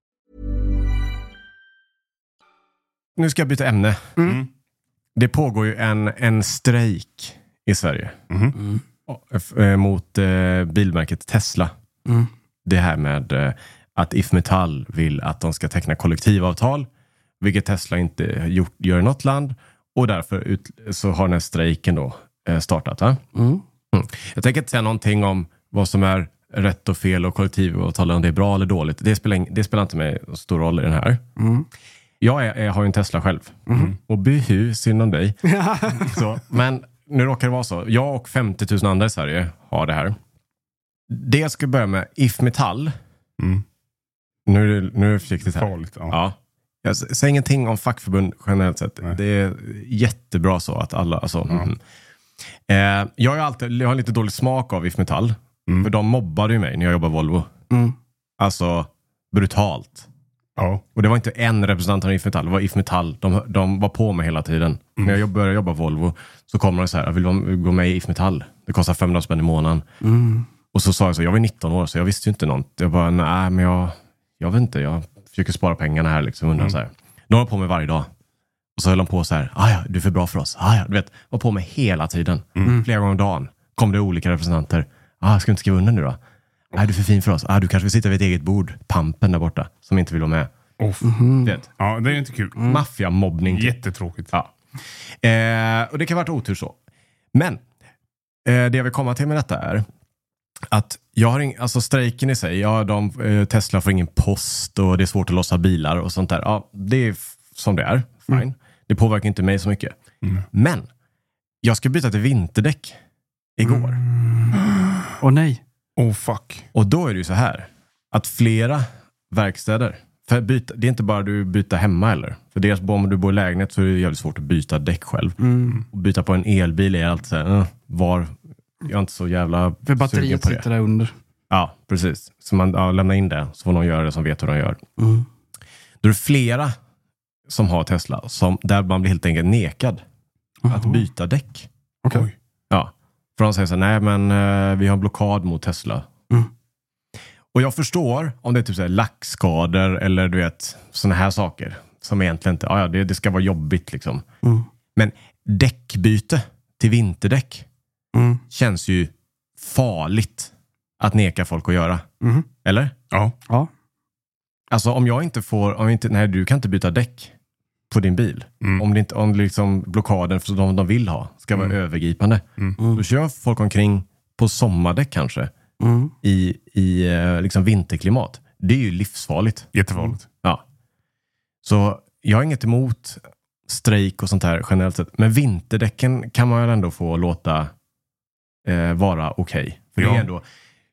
A: Nu ska jag byta ämne.
C: Mm.
A: Det pågår ju en, en strejk i Sverige F- eh, mot eh, bilmärket Tesla.
B: Mm.
A: Det här med eh, att IF Metall vill att de ska teckna kollektivavtal, vilket Tesla inte gjort, gör i något land. Och därför ut, så har den här strejken då eh, startat. Va?
B: Mm.
A: Mm. Jag tänker inte säga någonting om vad som är rätt och fel och kollektivavtal, om det är bra eller dåligt. Det spelar, ing- det spelar inte mig så stor roll i den här. Jag, är, jag har ju en Tesla själv.
C: Mhm.
A: Och byhu, synd om dig. så, men nu råkar det vara så. Jag och 50 000 andra i Sverige har det här. Det jag ska börja med, IF Metall.
C: Mm.
A: Nu, är det- nu är det försiktigt här.
C: Farligt. Ja.
A: Ja. Jag s- säger ingenting om fackförbund generellt sett.
C: Nej.
A: Det är jättebra så att alla... Alltså,
C: Ja.
A: mhm. eh, jag, har ju alltid, jag har lite dålig smak av IF Metall.
C: Mm.
A: För de mobbade ju mig när jag jobbade Volvo.
B: Mm.
A: Alltså brutalt.
C: Ja.
A: Och det var inte en representant av IF Metall, det var IF Metall. De, de var på mig hela tiden. När jag började jobba Volvo så kom de så här, vill du gå med i IF Metall? Det kostar 500 spänn i månaden. Och så sa jag så, jag var 19 år så jag visste ju inte något. Jag bara, nej men jag, jag vet inte, jag försöker spara pengarna här liksom. Undrar så här. De var på mig varje dag. Och så höll de på så här, "Ah, ja, du är för bra för oss. Ah, ja, du vet, var på mig hela tiden. Mm. Flera gånger om dagen kom det olika representanter. Ah, ska du inte skriva under nu då? Nej, du är för fin för oss. Ah, du kanske vill sitta vid ett eget bord. Pampen där borta, som inte vill vara med.
C: Mhm.
A: Du vet,
C: ja, det är ju inte kul. Mm.
A: maffiamobbning. typ.
C: Jättetråkigt.
A: Ja. Eh, och det kan vara otur så. Men eh, det jag vill komma till med detta är att jag har ing, alltså strejken i sig, ja, de, eh, Tesla får ingen post och det är svårt att lossa bilar och sånt där. Ja, det är f- som det är, fine. Det påverkar inte mig så mycket. Men jag ska byta till vinterdäck igår.
B: Och nej.
C: Oh fuck.
A: Och då är det ju så här att flera verkstäder, för att byta, det är inte bara du byta hemma heller. För dels bo- om du bor i lägenhet så är det jävligt svårt att byta däck själv.
B: Mm.
A: Och byta på en elbil är alltid så här, eh, var, jag är inte så jävla
B: För
A: sugen
B: batteriet
A: på det.
B: sitter där under.
A: Ja, precis. Så man ja, lämnar in det, så får någon göra det som vet hur de gör.
B: Mm.
A: Då är det flera som har Tesla, som, där man blir helt enkelt nekad att byta däck.
C: Okej.
A: Ja. För de säger så här, nej men eh, vi har en blockad mot Tesla.
B: Mm.
A: Och jag förstår om det är typ så här lackskador eller du vet sådana här saker. Som egentligen inte, ja ja, det, det ska vara jobbigt liksom.
B: Mm.
A: Men däckbyte till vinterdäck
B: Mm.
A: känns ju farligt att neka folk att göra.
B: Mhm.
A: Eller?
C: Ja.
B: Ja.
A: Alltså om jag inte får, om jag inte, nej du kan inte byta däck på din bil.
C: Mm.
A: Om, det inte, om liksom blockaden för de, de vill ha ska vara
C: Mm.
A: övergripande.
C: Mm.
A: Då kör folk omkring på sommardäck kanske
B: Mm.
A: i, i eh, liksom vinterklimat. Det är ju livsfarligt.
C: Jättefarligt.
A: Ja. Så jag har inget emot strejk och sånt här generellt sett. Men vinterdäcken kan man väl ändå få låta eh, vara okej. För det
C: Ja.
A: är ändå,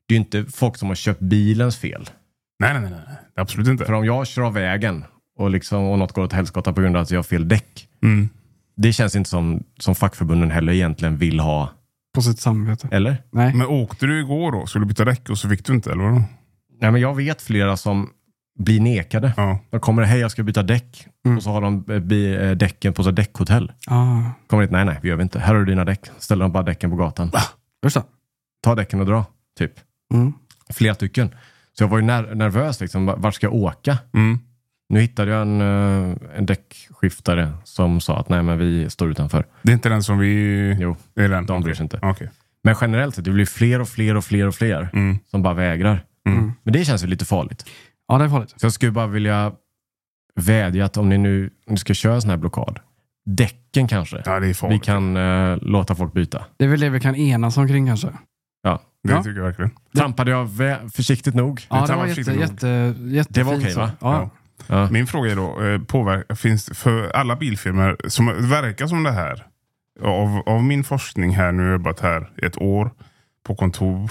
A: det är ju inte folk som har köpt bilens fel.
C: Nej, nej, nej, nej. nej. Absolut inte.
A: För om jag kör av vägen och, liksom, och något går åt helskotta på grund av att jag har fel däck.
C: Mm.
A: Det känns inte som, som fackförbunden heller egentligen vill ha.
B: På sitt samvete.
A: Eller?
B: Nej.
C: Men åkte du igår då? Skulle du byta däck och så fick du inte, eller vadå?
A: Nej, men jag vet flera som blir nekade.
C: Ja.
A: De kommer hej jag ska byta däck. Och så har de eh, bi- eh, däcken på så här däckhotell.
B: Ah.
A: Kommer dit, nej nej, vi gör vi inte. Här har du dina däck. Ställer de bara däcken på gatan.
B: Just det.
A: Ta däcken och dra, typ.
B: Mm.
A: Flera stycken. Så jag var ju ner- nervös, liksom. Va- vart ska jag åka?
C: Mm.
A: Nu hittade jag en, eh, en däckskiftare som sa att nej men vi står utanför.
C: Det är inte den som vi...
A: Jo,
C: Det är den?
A: de bryr
C: Okej.
A: sig inte.
C: Okej.
A: Men generellt sett, det blir fler och fler och fler och fler
C: Mm.
A: som bara vägrar.
C: Mm.
A: Men det känns ju lite farligt.
B: Ja, det är farligt.
A: Så jag skulle bara vilja vädja att om ni nu om ni ska köra en sån här blockad, däcken kanske,
C: Ja, det är
A: vi
C: farligt.
A: kan eh, låta folk byta.
B: Det är väl det vi kan enas omkring kanske.
A: Ja.
C: Det
B: Ja.
C: tycker jag verkligen.
A: Trampade jag vä- försiktigt nog?
B: Ja, det
C: tar
B: var
C: man
B: jätte,
C: försiktigt nog.
B: jätte, jättefint.
A: Det var okej,
B: så.
A: va?
B: Ja.
A: Ja.
C: Min fråga är då, eh, påverkar, finns det för alla bilfirmor som verkar som det här, av, av min forskning här, nu har jag jobbat här ett år på kontor,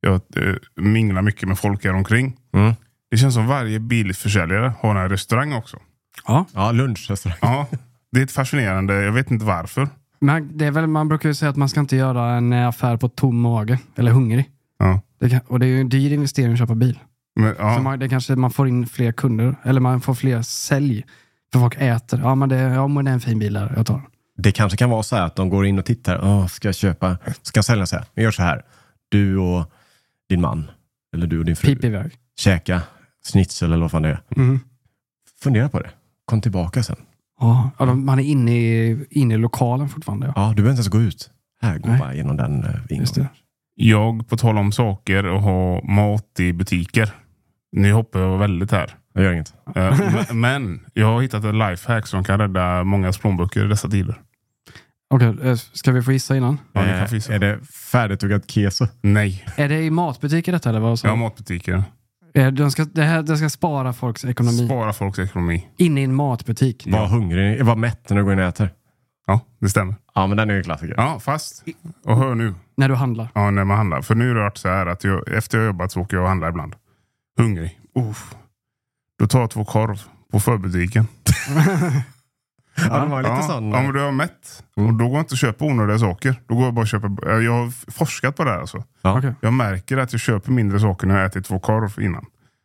C: jag eh, minglar mycket med folk här omkring.
A: Mm.
C: Det känns som varje bilförsäljare har en restaurang också.
B: ja.
A: Ja, lunchrestaurang.
C: Ja, det är ett fascinerande, jag vet inte varför.
B: Men det är väl, man brukar ju säga att man ska inte göra en eh, affär på tom mage. Eller hungrig.
C: Ja.
B: Det kan, och det är ju en dyr investering att köpa bil.
C: Men,
B: Så
C: ja,
B: man, det kanske man får in fler kunder. Eller man får fler sälj. För folk äter. Ja, men det, ja, men det är en fin bil där. Jag tar den.
A: Det kanske kan vara så här att de går in och tittar. Åh, ska jag köpa? Ska jag sälja så här? Vi gör så här. Du och din man, eller du och din fru,
B: Pip iväg.
A: käka schnitzel eller vad fan det är.
B: Mm.
A: Fundera på det. Kom tillbaka sen.
B: Ja, ja, de- man är inne i, inne i lokalen fortfarande. Ja.
A: Ja, du behöver inte ens gå ut. Här, gå
B: Nej.
A: bara genom den eh,
B: Just
A: ingången.
B: det.
C: jag, på tal om saker och ha mat i butiker. Nu hoppar jag väldigt här.
A: Jag gör inget.
C: Eh, men- Men jag har hittat en lifehack som kan rädda många plånböcker i dessa tider.
B: Okej, eh, ska vi få gissa innan?
C: Ja, ni kan
A: Eh,
C: fisa.
A: är det färdigtuggat keso?
C: Nej,
B: Är det i matbutiker detta eller vad
C: jag har
B: sa
C: matbutiker.
B: du? De ska, det här det ska spara folks ekonomi.
C: Spara folks ekonomi.
B: Inne i en matbutik.
A: Var hungrig, var mätt när du går in och äter.
C: Ja, det stämmer.
A: Ja, men den är ju en klassiker.
C: Ja, fast. Och hör nu.
B: När du handlar.
C: Ja, när man handlar. För nu har det varit så här att jag, efter jag har jobbat så åker jag och handlar ibland. Hungrig. Uff. Då tar jag två korv på förbutiken.
A: Ja, det var lite
C: ja,
A: sån. eh.
C: Ja, men då är jag mätt. Och då går jag inte och köper onödiga saker. Då går jag bara och köper. eh, Jag har f- forskat på det här alltså.
A: Ja.
B: Okej.
C: Jag märker att jag köper mindre saker när jag ätit två korv innan.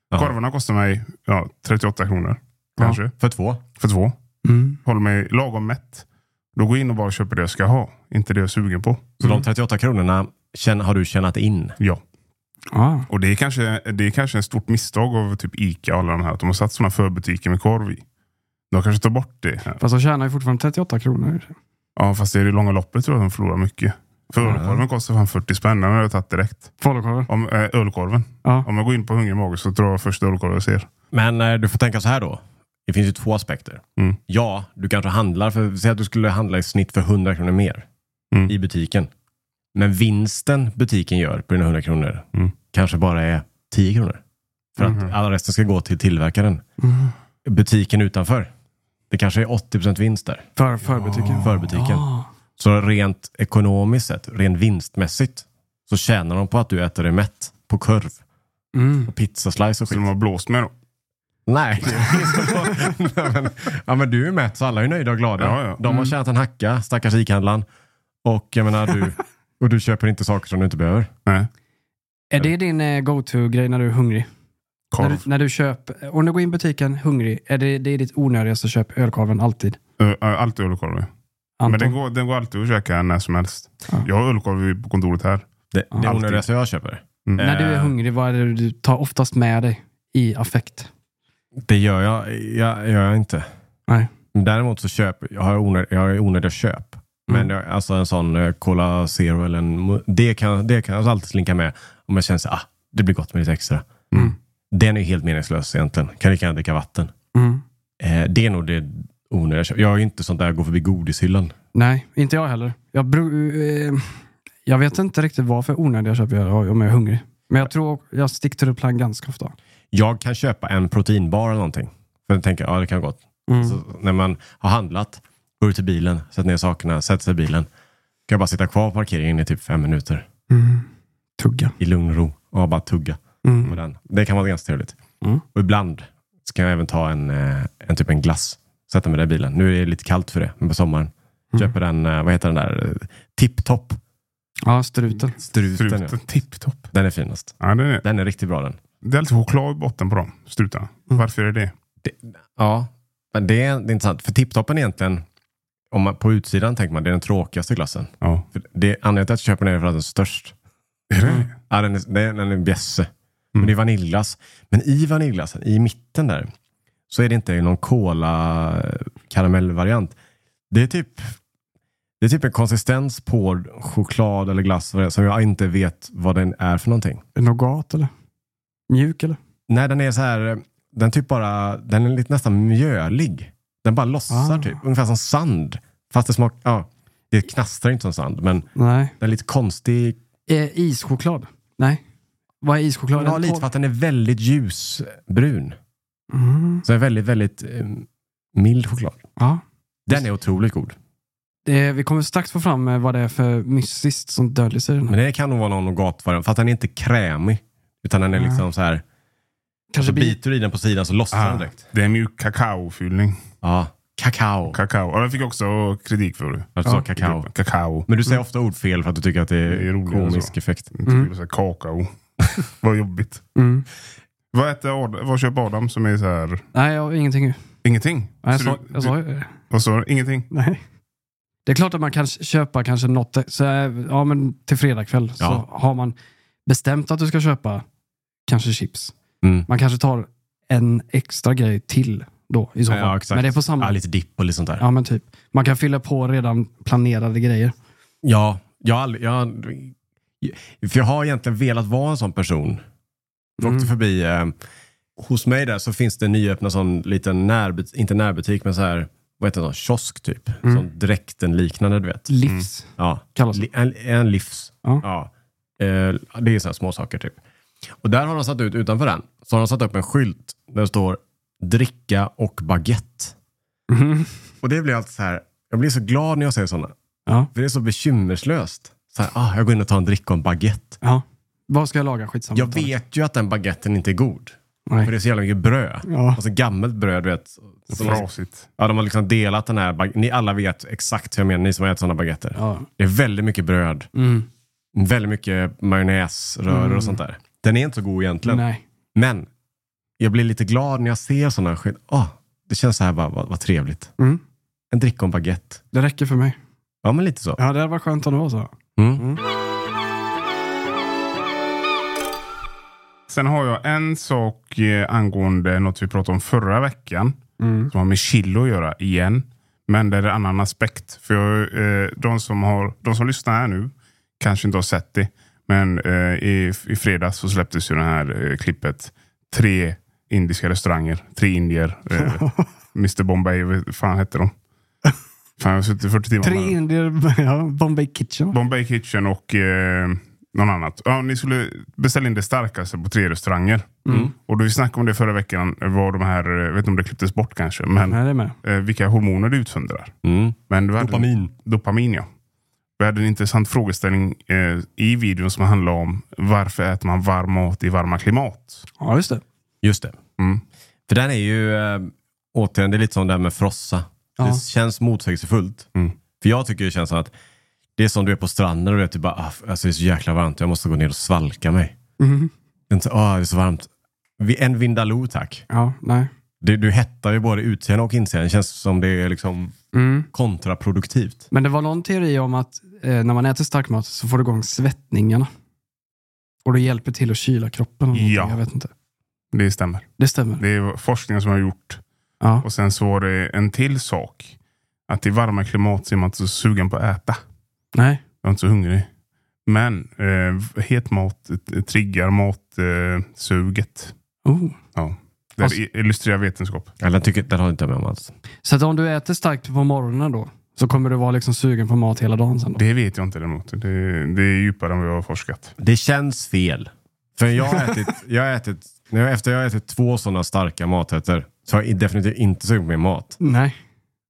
A: Ja.
C: Korvarna kostar mig ja, 38 kronor. Kanske.
A: För två.
C: För två.
B: Mm.
C: Håller mig lagom mätt. Då går jag in och bara köper det jag ska ha. Inte det jag är sugen på. Mm.
A: Så de 38 kronorna känn- har du tjänat in.
C: Ja.
B: Ja.
C: Och det är kanske, det är kanske ett stort misstag av typ Ica och alla de här. Att de har satt sådana förbutiker med korv i. De kanske tar bort det. här.
B: Fast de tjänar ju fortfarande 38 kronor.
C: Ja, fast det är det långa loppet tror jag de förlorar mycket. För
A: Ja.
C: ölkorven kostar fan 40 spänn. Den har jag tagit direkt.
B: Falukorven.
C: Om, eh, ölkorven.
B: Ja.
C: Om jag går in på hungrig mage så drar jag första ölkorven jag ser.
A: Men eh, du får tänka så här då. Det finns ju två aspekter.
C: Mm.
A: Ja, du kanske handlar för, säg att du skulle handla i snitt för 100 kronor mer
C: Mm.
A: i butiken. Men vinsten butiken gör på dina 100 kronor
C: Mm.
A: kanske bara är 10 kronor. För
C: Mhm.
A: att all resten ska gå till tillverkaren.
C: Mm-hmm.
A: Butiken utanför, det kanske är 80% vinst där.
B: För förbutiken.
A: För butiken.
C: Ah.
B: Ja.
A: Så rent ekonomiskt sett, rent vinstmässigt, så tjänar de på att du äter dig mätt på korv
B: Mm.
A: och pizzaslice och
C: Så
A: skit.
C: de har blåst mig då.
A: Nej. Nej, men, ja, men du är mätt så alla är nöjda och glada.
C: Ja, ja.
A: De
B: Mm.
A: har tjänat en hacka, stackars ICA-handlaren. Och jag menar, du, och du köper inte saker som du inte behöver.
C: Nej.
B: Är det din eh, go-to-grej när du är hungrig? När du,
C: Korv.
B: när du köper, om du går in i butiken hungrig, är det, det är ditt onödigaste köp, ölkorven, alltid?
C: Ö, ö, Alltid ölkorv. nu.
B: Anton?
C: Men den går, den går alltid att käka när som helst.
B: Ja.
C: Jag har ölkorv på kontoret här.
A: Det, det är
C: Alltid.
A: onödigaste jag köper.
C: Mm.
B: När du är
A: Eh,
B: hungrig, vad är det du tar oftast med dig i affekt?
A: Det gör jag, jag, gör jag inte.
B: Nej.
A: Däremot så köper jag, har onöd, jag har onödiga köp. Men
B: Mm.
A: jag, alltså en sån eh, Cola Zero eller en, Mo- det kan, det kan jag alltid slinka med. Om jag känner så ah, det blir gott med lite extra.
B: Mm.
A: Den är ju helt meningslös egentligen. Kan lika gärna dricka vatten.
B: Mm.
A: Eh, det är nog det onödiga köp. Jag är ju inte sånt där, går förbi godishyllan.
B: Nej, inte jag heller. Jag, bru- eh, jag vet inte riktigt varför onödiga köp jag gör om jag är hungrig. Men jag tror jag sticker till plan ganska ofta.
A: Jag kan köpa en proteinbar eller någonting. För jag tänker, ja det kan vara gott.
B: Mm.
A: Så när man har handlat, går ut till bilen, sätter ner sakerna, sätter sig i bilen. Kan jag bara sitta kvar på parkeringen i typ fem minuter.
B: Mm. Tugga.
A: i lugn och ro och bara tugga
B: Mm.
A: på den. Det kan vara ganska trevligt.
B: Mm.
A: Och ibland så kan jag även ta en, eh, en typ en glass. Sätta mig där i bilen. Nu är det lite kallt för det, men på sommaren.
B: Mm.
A: Köper den, eh, vad heter den där? Eh, Tipptopp.
B: Ja, struten.
A: Struten.
C: Struten,
A: Ja.
C: tipptopp.
A: Den är finast.
C: Ja, det, är,
A: Den är riktigt bra den.
C: det är alltid choklad i botten på dem, strutarna.
B: Mm.
C: Varför är det det?
A: Ja, men det är, det är intressant. För tipptoppen är egentligen, om man, på utsidan tänker man, det är den tråkigaste glassen.
C: Ja.
A: För det, anledningen till att jag köper den är för att den är störst. Mm.
C: Är det? Mm.
A: Ja, den är, den den är bjässe. Men det är vaniljglass. Men i vaniljglassen, i mitten där, så är det inte någon cola karamellvariant. Det är typ det är typ en konsistens på choklad eller glass vad det är, som jag inte vet vad den är för någonting.
B: Är det Nougat eller? Mjuk eller?
A: Nej, den är så här, den typ bara, den är lite nästan mjölig. Den bara lossar
B: Ah.
A: typ, ungefär som sand. Fast det smakar, ja, det knastrar inte som sand, men
B: Nej.
A: den är lite konstig.
B: Eh, ischoklad? Nej. Vad är ischoklad?
A: Ja, lite för att den är väldigt ljusbrun.
B: Mm.
A: Så en väldigt, väldigt eh, mild choklad.
B: Ja.
A: Den är otroligt god.
B: Det, vi kommer strax få fram eh, vad det är för mystiskt som döljer sig i den. här.
A: Men det kan nog vara någon nougatvariant. För att den är inte krämig. Utan den är
B: Nej.
A: liksom så här.
B: Kanske
A: Så
B: blir
A: biter du i den på sidan så lossnar
C: Ah,
A: den direkt.
C: det är mjuk kakaofyllning.
A: Ja. Kakao.
C: Kakao. Ja, det fick jag också kritik för.
A: Jag sa Alltså, kakao.
C: Kakao.
A: Men du säger ofta ordfel för att du tycker att det är,
C: Det är roligare
A: komisk
C: så.
A: effekt.
C: Inte
B: Mm.
C: vill säga kakao. Vad jobbigt.
B: Mm.
C: Vad, äter Adam, vad köper Adam som är så här...
B: Nej, jag har ingenting. Nej,
C: Ingenting.
B: jag
C: Så
B: sa,
C: du-
B: jag sa ju det.
C: Vad sa du? Ingenting?
B: Nej. Det är klart att man kan köpa kanske något. Så, eh, ja, men till fredagkväll
A: Ja.
B: så har man bestämt att du ska köpa kanske chips.
A: Mm.
B: Man kanske tar en extra grej till då i så fall.
A: Ja, exakt.
B: Men det är på
A: Ja,
B: samma.
A: lite dipp och lite sånt där. Ja.
B: Ja, men typ. Man kan fylla på redan planerade grejer.
A: ja jag, har aldrig, jag, för jag har egentligen velat vara en sån person. Jag
B: Mm.
A: åkte förbi. Eh, hos mig där så finns det en nyöppnad sån liten närbutik. Inte närbutik, men så här. Vad heter det? Sån kiosk typ. Sån dräkten liknande du vet.
B: Livs
A: Ja.
B: Mm. kallas det.
A: Li- En, en livs.
B: Ja.
A: Ja. Eh, det är sådana små saker typ. Och där har de satt ut, utanför den, så har de satt upp en skylt där det står dricka och baguette.
B: Mhm.
A: Och det blir alltid så här, jag blir så glad när jag ser sådana.
B: Ja.
A: För det är så bekymmerslöst. Så här, ah, jag går in och tar en dricka och en baguette.
B: ja. Vad ska jag laga? Skitsamma.
A: Jag vet ju att den baguetten inte är god. För det
B: Nej.
A: är så jävla mycket bröd.
B: Ja.
A: Alltså gammalt bröd, du vet. Som har,
C: Frasigt.
A: ja, de har liksom delat den här, bag- ni alla vet exakt hur jag menar, ni som har ätit sådana baguetter.
B: Ja.
A: Det är väldigt mycket bröd.
B: Mm.
A: väldigt mycket majonnäsröror och sånt där. Den är inte så god egentligen.
B: Nej.
A: Men jag blir lite glad när jag ser sådana skit. Ah, det känns så här bara, vad, vad trevligt.
B: Mm.
A: En dricka och en baguette.
B: Det räcker för mig.
A: Ja, men lite så.
B: Ja, det hade varit skönt om det var så.
A: Mm.
C: Sen har jag en sak eh, angående något vi pratade om förra veckan. Som har med chili att göra igen. Men där är en annan aspekt. För jag, eh, de, som har, de som lyssnar här nu kanske inte har sett det. Men eh, i, i fredags så släpptes ju det här eh, klippet. Tre indiska restauranger. Tre indier. Eh, Mr Bombay, vad fan hette de? Fan, jag har suttit 40 timmar.
B: Tre
C: med dem.
B: indier, ja, Bombay Kitchen.
C: Bombay Kitchen och eh, någon annat. Ja, ni skulle beställa in det starkaste på tre restauranger.
A: Mm.
C: Och då vi snackade om det förra veckan, var de här, eh, jag vet inte om det klipptes bort kanske, men
B: Nej, det är med.
C: eh, vilka hormoner det utsöndrar.
A: Mm.
C: Men vi hade-
A: Dopamin.
C: Dopamin, ja. Vi hade en intressant frågeställning eh, i videon som handlade om varför äter man varm mat i varma klimat?
B: Ja, just det.
A: Just det.
C: Mm.
A: För den är ju, äh, återigen, det är lite som det här med frossa.
B: Ja.
A: Det känns motsägelsefullt.
C: Mm.
A: För jag tycker det känns som att det är som du är på stranden och du vet, du bara, ah, alltså det är så jäkla varmt, jag måste gå ner och svalka mig.
B: Mhm.
A: Den sa, Åh, det är så varmt. Vi- En Vindaloo tack.
B: Ja, nej.
A: Du, du hettar ju både utsidan och insidan. Det känns som det är liksom
B: Mm.
A: kontraproduktivt.
B: Men det var någon teori om att eh, när man äter stark mat så får du igång svettningarna. Och det hjälper till att kyla kroppen. eller
C: Ja.
B: någonting, Jag vet inte.
C: Det stämmer.
B: Det stämmer.
C: Det är forskningen som har gjort.
B: Ja.
C: Och sen så var det en till sak. Att i varma klimat så är man inte så sugen på att äta.
B: Nej.
C: Jag är inte så hungrig. Men eh, het mat eh, triggar matsuget. Eh, suget.
B: Oh.
C: det
B: Alltså-
C: i- illustrerar vetenskap.
A: Eller den, tycker, den har inte jag med om alls.
B: Så att om du äter starkt på morgonen då, så kommer du vara liksom sugen på mat hela dagen sen då?
C: Det vet jag inte däremot. Det, det är djupare än vad jag har forskat.
A: Det känns fel. För jag har ätit, jag har ätit när jag, efter jag har ätit två sådana starka maträtter så har jag definitivt inte sugit mer mat.
B: Nej.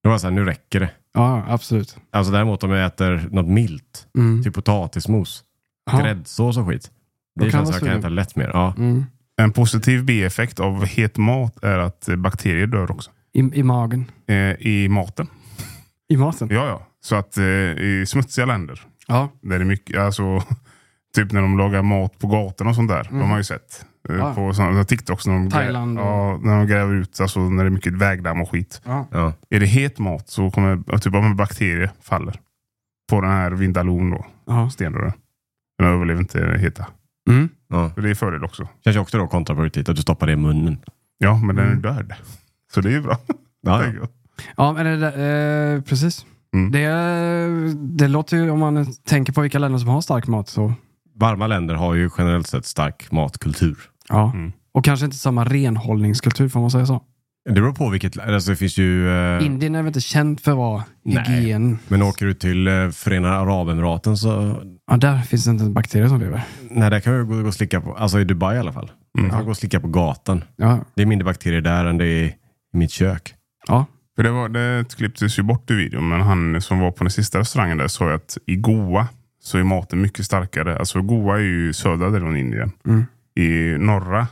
A: Då var jag såhär, nu räcker det.
B: Ja, absolut.
A: Alltså däremot om jag äter något milt,
B: Mm.
A: typ potatismos,
B: Ja.
A: gräddsås och skit.
B: Då
A: Det
B: kan
A: känns
B: man
A: jag kan
B: sugen.
A: äta lätt mer. Ja.
B: Mm.
C: En positiv bieffekt av het mat är att eh, bakterier dör också.
B: I, I magen.
C: Eh, I maten.
B: I maten?
C: Ja, ja. Så att eh, i smutsiga länder.
B: Ja.
C: Där det är mycket, alltså, typ när de lagar mat på gatorna och sånt där. De har man ju sett. eh,
B: Mm. Ja.
C: På sådana TikToks. När de grä-
B: Thailand och-
C: Ja, när de gräver ut. Alltså när det är mycket vägdamm och skit.
B: Ja.
A: Ja.
C: Är det het mat så kommer typ av bakterier faller. På den här vindalon då.
B: ja.
C: Stenrören. Den överlever inte det heta.
B: Mm.
A: Ja.
C: Så det är fördel också.
A: Känns ju också då kontraproduktivt att du stoppar det i munnen.
C: Ja, men den är
B: Mm.
C: död. Så det är ju bra.
A: Ja, ja.
C: tänker jag.
B: Ja, men det, där- eh, precis.
C: Mm.
B: Det, eh, det låter ju, om man tänker på vilka länder som har stark mat så.
A: Varma länder har ju generellt sett stark matkultur.
B: Ja.
C: Mm.
B: Och kanske inte samma renhållningskultur, får man säga så.
A: Det beror på vilket... Alltså det finns ju... eh,
B: Indien är väl inte känt för att vara
A: Nej.
B: hygien.
A: men åker du till eh, Förenade Arabemiraten så...
B: Ja, där finns det inte en bakterie som lever.
A: Nej, där kan du gå gå och slicka på... Alltså i Dubai i alla fall.
C: Mm.
A: Du kan gå och slicka på gatan.
B: Ja.
A: Det är mindre bakterier där än det är i mitt kök.
B: ja.
C: För det, var, det klipptes ju bort i videon, men han som var på den sista restaurangen där sa ju att i Goa så är maten mycket starkare. Alltså Goa är ju södra delen av Indien.
B: Mm.
C: I norra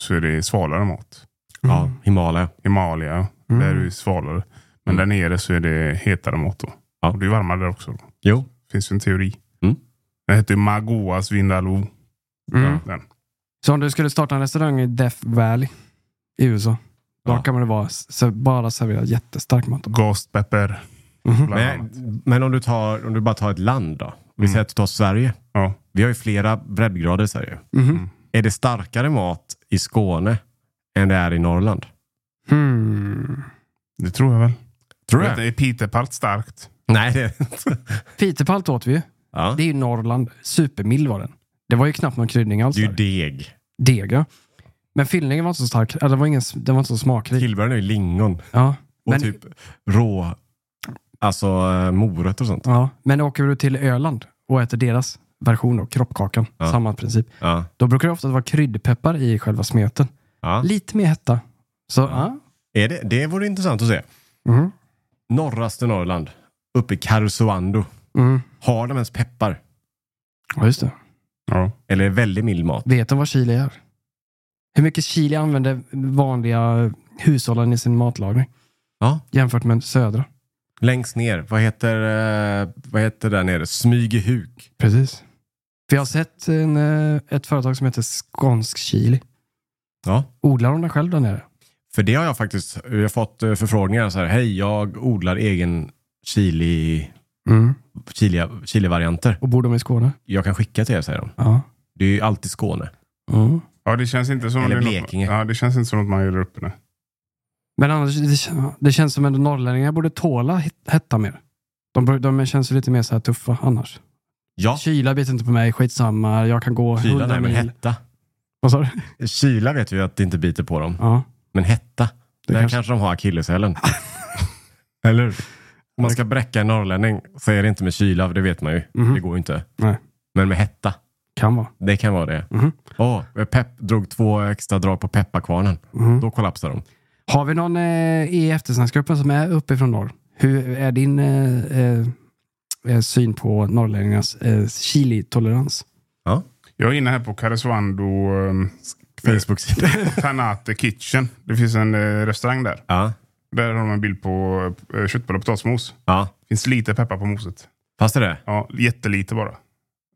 C: så är det svalare mat.
A: Ja, Himalaya.
C: Himalaya,
B: Mm.
C: där är det ju svalare. Men där nere så är det hetare mat då.
A: Ja.
C: Och det är varmare där också. Då.
A: Jo.
C: finns ju en teori.
A: Mm.
C: Den heter ju Magoas Vindaloo.
B: Mm.
C: Ja, den.
B: Så om du skulle starta en restaurang i Death Valley i USA, då
A: Ja.
B: kan man ju vara, se- bara servera jättestark mat.
C: Ghost pepper.
B: Mhm.
C: Bland
A: Men,
C: annat.
A: men om, du tar, om du bara tar ett land då. Vi
C: Mm.
A: säger att du tar Sverige.
C: Ja.
A: Vi har ju flera breddgrader i Sverige. Mm.
B: Mhm.
A: Är det starkare mat i Skåne än det är i Norrland?
B: Hmm.
C: Det tror jag väl.
A: Tror du
C: Jag vet
A: det?
C: inte, Är pitepalt starkt?
A: Nej, det är det inte.
B: Pitepalt åt vi ju.
A: Ja.
B: Det är ju Norrland. Supermild var den. Det var ju knappt någon kryddning alls.
A: Det är ju
B: där.
A: deg.
B: Deg, ja. Men fyllningen var inte så stark. Eller, det var ingen, den var inte så smakrik.
A: Tillbehören är ju lingon
B: Ja.
A: och
B: Men,
A: typ rå alltså, eh, morötter och sånt.
B: ja. Men åker du till Öland och äter deras version av kroppkakan,
A: Ja.
B: samma princip,
A: Ja.
B: då brukar det ofta vara kryddpeppar i själva smeten.
A: Ja.
B: Lite mer hetta. Så, ja.
A: Ja. Är det, det vore intressant att se.
B: Mhm.
A: Norraste Norrland, uppe i Karesuando,
B: Mm.
A: har de ens peppar?
B: Ja, just det.
C: Ja.
A: Eller är det väldigt mild mat?
B: Vet de vad chili är? Hur mycket chili använder vanliga hushållen i sin matlagning?
A: Ja.
B: Jämfört med södra.
A: Längst ner, vad heter, eh, vad heter där nere? Smygehuk.
B: Precis. För jag har sett en, eh, ett företag som heter Skånsk Chili.
A: Ja.
B: Odlar de den själv där nere?
A: För det har jag faktiskt, jag har fått eh, förfrågningar så här, hej jag odlar egen chili, chili, chili-varianter.
B: Och bor de i Skåne?
A: Jag kan skicka till er säger de.
B: Ja.
A: Det är ju alltid Skåne.
B: Mm.
C: Ja, det känns inte som
A: Eller
C: det är något,
A: Blekinge.
C: ja, det känns inte som något man gör där uppe nu.
B: Men annars, det, kän- det känns som att norrlänningar borde tåla het- hetta mer. De, bör- de känns ju lite mer så här tuffa annars.
A: Ja,
B: Kyla biter inte på mig, skitsamma, jag kan gå
A: kyla, nej men
B: mil.
A: hetta.
B: Vad sa du?
A: Kyla vet vi att det inte biter på dem,
B: Ja,
A: men hetta,
B: det
A: där
B: kanske...
A: kanske de har akilleshälen. Eller hur? Om man ska bräcka en norrlänning så är det inte med kyla, för det vet man ju.
B: Mhm.
A: Det går ju inte.
B: Nej.
A: Men med hetta,
B: kan vara.
A: det kan vara det.
B: Mhm.
A: Åh, Pepp drog två extra drag på pepparkvarnen.
B: Mhm.
A: Då kollapsar de.
B: Har vi någon eh, i eftersnacksgruppen som är uppifrån norr? Hur är din eh, eh, eh, syn på norrlänningarnas eh, chili-tolerans?
C: Jag är inne här på Karesuando um,
A: Facebook-sida.
C: Tanate Kitchen. Det finns en eh, restaurang där.
A: ja.
C: Där har de en bild på uh, köttbullar och potatismos.
A: ja.
C: finns lite peppar på moset.
A: Fast är det?
C: Ja, jättelite bara.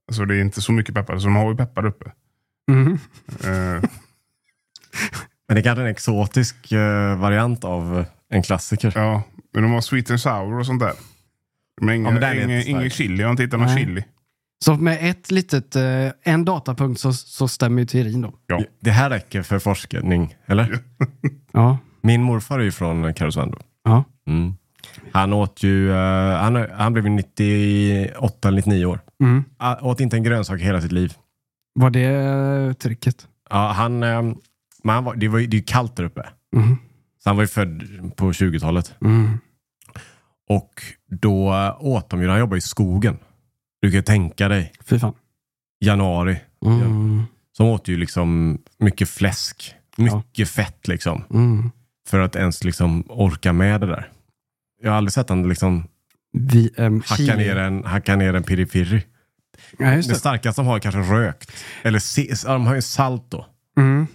C: Alltså det är inte så mycket peppar. Så de har ju peppar uppe.
A: Mm-hmm.
C: Eh,
A: Men det är kanske en exotisk eh, variant av en klassiker.
C: ja, men de har sweet and sour och sånt där.
A: Ja,
C: Men
A: men
C: ingen,
A: den är
C: ingen,
A: inte stark.
C: ingen chili. Jag har inte hittat någon
B: Nej.
C: chili.
B: Så med ett litet, eh, en datapunkt så, så stämmer ju teorin då.
C: Ja.
A: Det här räcker för forskning, eller?
B: Ja.
A: Min morfar är ju från Karesuando.
B: ja.
A: Mm. Han åt ju, eh, han, han blev ju 98 eller 99 år.
B: Mm.
A: Ah, åt inte en grönsak hela sitt liv.
B: Var det eh, tricket?
A: Ja, han, eh, men han var, det, var, ju- det är ju kallt där uppe.
B: Mhm.
A: Så han var ju född på 20-talet.
B: Mm.
A: Och då åt de ju, han jobbade i skogen. Du kan ju tänka dig,
B: Fy fan.
A: januari.
B: Mm.
A: Så de åt ju liksom mycket fläsk, mycket fett liksom.
B: Mm.
A: För att ens liksom orka med det där. Jag har aldrig sett han liksom
B: Vi, ehm,
A: hacka
B: Chile.
A: ner en, hacka ner en piripiri.
B: Ja, just
A: Det
B: det.
A: starkaste de har är kanske rökt. Eller se, ja, de har ju salt då.
B: Mm.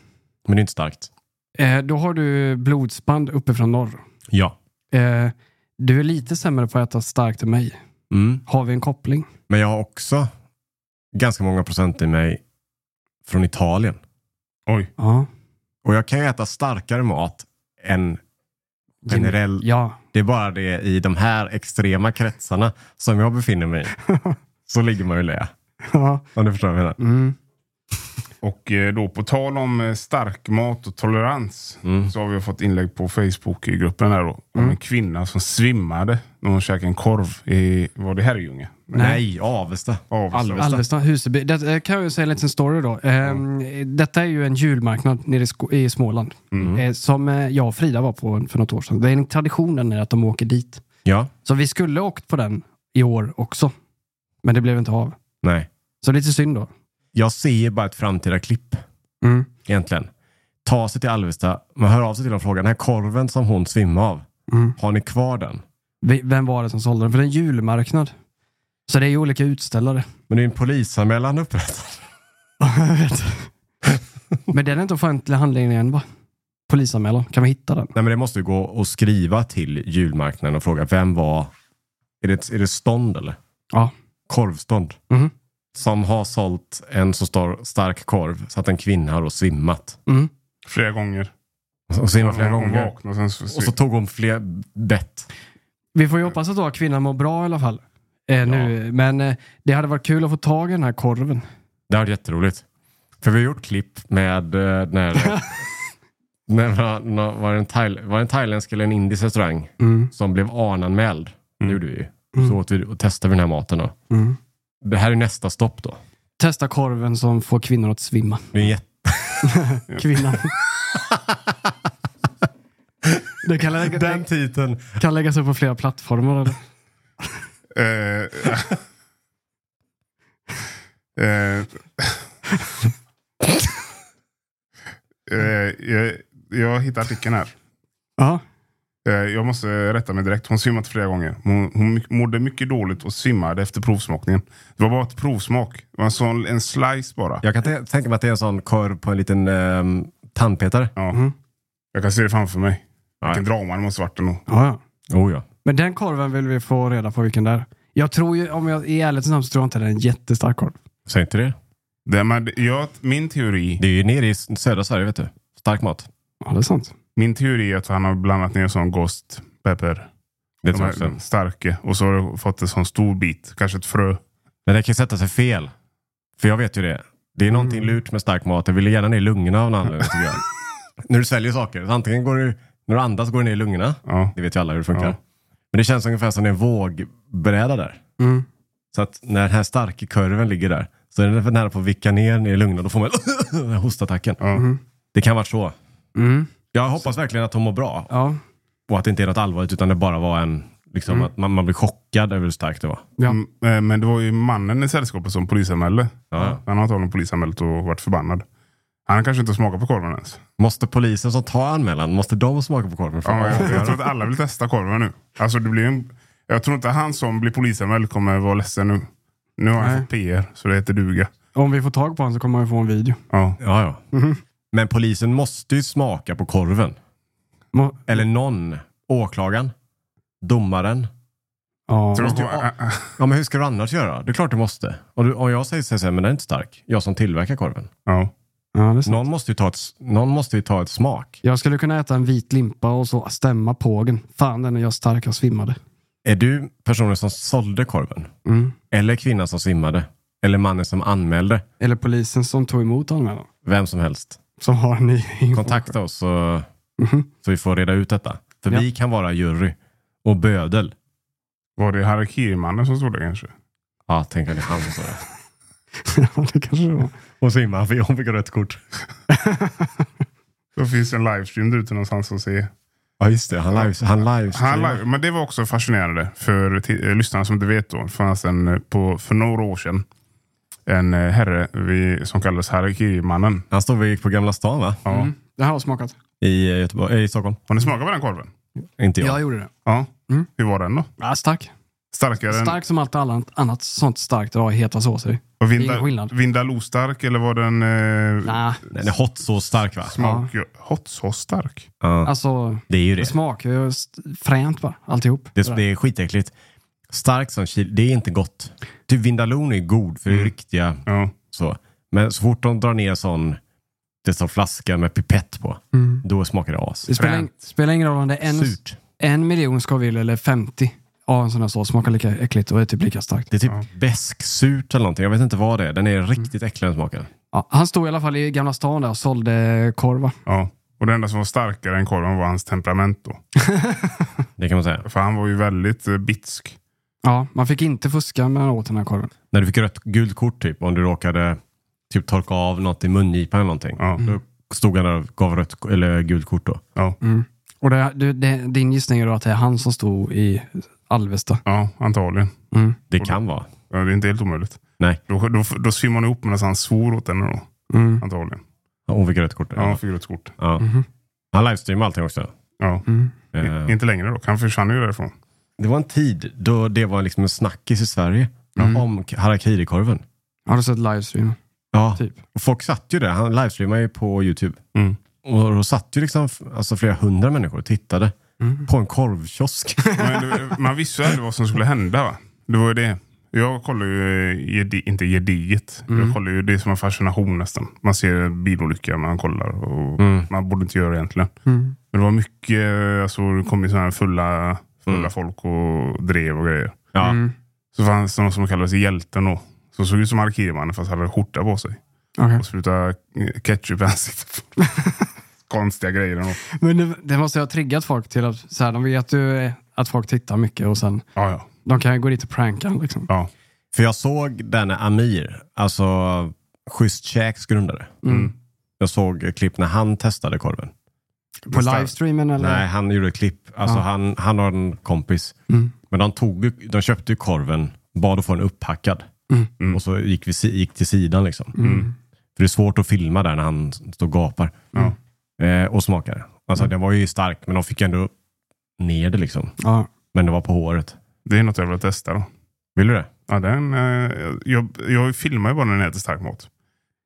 A: Men det är inte starkt.
B: Eh, då har du blodsband uppifrån norr.
A: Ja.
B: Eh, du är lite sämre på att äta starkt än mig.
A: Mm.
B: Har vi en koppling?
A: Men jag har också ganska många procent i mig från Italien.
C: Oj.
B: Ja.
A: Och jag kan ju äta starkare mat än generell.
B: Ja.
A: Det är bara det i de här extrema kretsarna som jag befinner mig i. Så ligger man ju lä.
B: ja.
A: Om du förstår vad jag menar.
B: Mm.
C: Och eh, då på tal om eh, stark mat och tolerans
A: Mm.
C: så har vi fått inlägg på Facebookgruppen här då, om en kvinna som svimmade när hon käkade en korv i, var det Herrljunga?
A: Nej, Avesta.
C: Avesta.
B: Alvesta, Huseby. Det eh, kan jag ju säga en liten story då. Ehm, Detta är ju en julmarknad nere i, Sko- i Småland.
A: Mm.
B: Eh, Som eh, jag och Frida var på för något år sedan. Det är en traditionen är att de åker dit.
A: Ja.
B: Så vi skulle ha åkt på den i år också. Men det blev inte av.
A: Nej.
B: Så lite synd då.
A: Jag ser bara ett framtida klipp.
B: Mm.
A: egentligen. Ta sig till Alvesta, man hör av sig till dem och frågar, den här korven som hon svimmade av,
B: Mm.
A: har ni kvar den?
B: Vi- Vem var det som sålde den? För det är en julmarknad. Så det är ju olika utställare.
A: Men det är en polisanmälan upprättad.
B: Jag vet. Men den är inte offentlig handling än va? Polisanmälan. Kan vi hitta den?
A: Nej men det måste ju gå och skriva till julmarknaden och fråga, vem var... Är det, ett- är det stånd eller?
B: Ja.
A: Korvstånd.
B: Mhm.
A: Som har sålt en så stor, stark korv så att en kvinna har då svimmat.
B: Mm.
C: Flera gånger.
A: Och svimmat flera
C: hon
A: gånger.
C: vaknade och sen så,
A: Och så tog hon fler bett.
B: Vi får ju hoppas att då kvinnan mår bra i alla fall. Eh, nu. Men eh, det hade varit kul att få tag i den här korven.
A: Det har varit jätteroligt. För vi har gjort klipp med eh, när... när var, när- var, det en thail, var det en thailändsk eller en indisk restaurang
B: Mm.
A: som blev ananmäld? Det gjorde vi ju. Så åt vi och testade vi den här maten då.
B: Mm.
A: Det här är nästa stopp då.
B: Testa korven som får kvinnor att svimma.
A: Det är en jätte...
B: Kvinnan. det kan, lägga,
A: Den titeln.
B: kan läggas upp på flera plattformar. Eller?
C: Eh, eh, eh, jag, jag hittar artikeln här.
B: Ja.
C: Eh, Jag måste rätta mig direkt. Hon svimmat flera gånger. Hon, hon myck- mådde mycket dåligt och svimmade efter provsmakningen. Det var bara ett provsmak. Det var en, sån, en slice bara.
A: Jag kan tä- tänka mig att det är en sån korv på en liten ehm, tandpetare.
C: Ja. Jag kan se det framför mig. Vilken drama det måste varit ändå.
B: Ja, ja.
A: Oh, ja.
B: Men den korven vill vi få reda på vilken det är. Jag tror ju, om jag i ärlighetens namn så tror jag inte det är en jättestark korv.
A: Säg inte det.
C: Det, men, det- jag, min, teori,
A: Det är ju nere i s- södra Sverige, vet du. Stark mat.
B: Ja, det är sant.
C: min teori är att han har blandat ner sån ghost pepper.
A: Det
C: De
A: tror jag
C: här
A: också.
C: starka. Och så har du fått en sån stor bit. Kanske ett frö.
A: Men det kan ju sätta sig fel. För jag vet ju det. Det är någonting lurt med stark mat. Det vill gärna ner i lungorna av någon anledning tycker jag. när du sväljer saker. Så antingen går du, när du andas går det ner i lungorna.
C: Ja.
A: Det vet ju alla hur det funkar.
C: Ja.
A: Men det känns ungefär som en vågbräda där.
B: Mm.
A: Så att när den här starka kurven ligger där. Så är den för nära på att vicka ner, ner i lungorna. Då får man den här hostattacken.
C: Ja.
A: Det kan vara så.
B: Mm.
A: Jag hoppas verkligen att hon mår bra.
B: Ja.
A: Och att det inte är något allvarligt. Utan det bara var en... Liksom att man, man blir chockad över hur starkt det var.
B: Ja.
C: Mm, eh, Men det var ju mannen i sällskapet som polisanmälde.
A: Ja.
C: Han har antagligen polisanmält och varit förbannad. Han kanske inte har smakat på korven ens.
A: Måste polisen som tar anmälan, måste de smaka på korven? för att
C: Ja, jag,
A: avgöra?
C: jag tror att alla vill testa korven nu. Alltså, det blir ju en, jag tror inte han som blir polisanmäld kommer vara ledsen nu. Nu har
B: Nej.
C: han fått PR, så det heter duga.
B: Om vi får tag på honom så kommer vi få en video.
C: Ja.
A: Ja, ja. Men polisen måste ju smaka på korven.
B: Må-
A: Eller någon. Åklagaren. Domaren.
B: Ja.
C: Tror du,
A: måste ju-
C: ja, ja,
A: Ja, men hur ska du annars göra? Det är klart du måste. Och du, om jag säger så här, men den är inte stark. Jag som tillverkar korven.
C: ja.
B: Ja, det är sant.
A: Någon måste ju ta ett, någon måste ju ta ett smak.
B: Jag skulle kunna äta en vit limpa och så stämma pågen. Fan, den är jag stark. Jag svimmade.
A: Är du personen som sålde korven? Eller kvinnan som svimmade? Eller mannen som anmälde?
B: Eller polisen som tog emot anmälan.
A: Vem som helst.
B: Som har en ny Mhm. info.
A: Kontakta oss så, så vi får reda ut detta. För
B: Ja.
A: vi kan vara jury. Och bödel.
C: Var det harakirimannen som stod där kanske?
A: Ja, tänk att det är han som sa det.
B: Ja, det kanske det var.
A: Och simma, för jag fick rött kort.
C: Då finns en livestream där ute någonstans att se.
A: Ja, just det. Han lives. Han lives.
C: Han live, men det var också fascinerande för t- eh, lyssnarna som inte vet då. Det fanns en, eh, på, för några år sedan en eh, herre vid, som kallades harakirimannen.
A: Han stod vid på Gamla stan, va?
C: Ja.
B: Mm. Det här har smakat.
A: I, eh, Göteborg, eh, i Stockholm.
C: Har ni smakat på den korven?
A: Inte jag.
B: Jag gjorde det.
C: Ja.
B: Mm.
C: Hur var den då?
B: Ja, stark.
C: Starkare
B: Stark som allt annat, annat sånt starkt det har i heta såser i.
C: än
B: det är ingen
C: Vinda,
B: skillnad.
C: Vindaloo-stark eller var den eh,
B: Nej,
A: Den är hot så stark, va?
C: smak... Hot sauce-stark?
A: Ja.
B: alltså
A: Det är ju det.
B: smak. är ju st- Fränt bara, alltihop.
A: Det, det är skitäckligt. Starkt som chili, det är inte gott. Typ Vindaloo är god, för det är riktiga
C: Ja.
A: så. Men så fort de drar ner sån, det står flaska med pipett på, då smakar det as.
B: Det spelar, ing- spelar ingen roll om det är en,
A: Surt.
B: en miljon Scoville eller 50 av en sån här sås. Smakar lika äckligt och är typ lika starkt.
A: Det är typ bäsksurt eller någonting. Jag vet inte vad det är. Den
C: Mm.
A: är riktigt äcklig den smaken.
B: Ja, han stod i alla fall i Gamla stan där och sålde korva.
C: ja. Och det enda som var starkare än korven var hans temperament då.
A: Det kan man säga.
C: För han var ju väldigt eh, bitsk.
B: Ja, man fick inte fuska med åt den här korven.
A: När du fick rött, gult kort typ, om du råkade typ torka av något i mungipan eller någonting.
C: Ja.
A: Då stod han där och gav rött, eller gult kort då.
C: Ja.
B: Mm. Och det, du- det, din gissning är då att det är han som stod i Alvesta.
C: ja, antagligen.
A: Det
C: Mm.
A: kan vara.
C: Ja, det är inte helt omöjligt.
A: Nej,
C: Då, då, då svimmade han ihop medan han svor åt henne då.
B: Mm.
C: Antagligen.
A: hon fick rött kort.
C: Ja, han fick rött kort.
A: Ja. Han livestreamade allting också.
C: Ja.
B: Mm.
A: Eh,
C: I- Inte längre då. Han försvann ju därifrån.
A: Det var en tid då det var liksom en snackis i Sverige
C: Mm.
A: om k- harakirikorven.
B: Har du sett livestream?
A: Ja,
B: Typ.
A: och folk satt ju där. Han livestreamade ju på YouTube.
C: Mm.
A: Och då satt ju liksom f- alltså flera hundra människor och tittade på en korvkiosk.
C: Men, det- man visste ju aldrig vad som skulle hända. Va? Det var ju det. Jag kollar ju, eh, gedi, inte gediget, jag kollar ju, det är som en fascination nästan. Man ser en bilolycka, man kollar och man borde inte göra det egentligen. Men det var mycket, eh, alltså, det kom ju sådana här fulla, fulla folk och drev och grejer.
A: Ja.
C: Så fanns det någon som kallades Hjälten då. Som såg ut som Arkivmannen fast hade skjorta på sig.
B: Okej.
C: Och sprutade eh, ketchup i ansiktet. Konstiga grejer. ändå.
B: Men det, det måste ju ha triggat folk till att, så här, de vet ju eh, att folk tittar mycket och sen,
C: Ja, ja.
B: de kan ju gå dit och pranka liksom.
C: ja.
A: För jag såg denne Amir, alltså Schysst Käks grundare. Jag såg klipp när han testade korven.
B: På livestreamen eller?
A: Nej, han gjorde ett klipp. Alltså, han, han har en kompis. Men de, tog, ju- de köpte ju korven, bad att få den upphackad.
C: Mm.
A: Och så gick, vi, si- gick till sidan. Liksom. För det är svårt att filma där när han står och gapar. Eh, och smakar. Alltså, Den var ju stark, men de fick ändå ner det. Liksom.
B: Ja.
A: Men det var på håret.
C: Det är något jag vill testa då.
A: Vill du det?
C: Ja, den, eh, jag, jag filmar ju bara när den äter stark mat.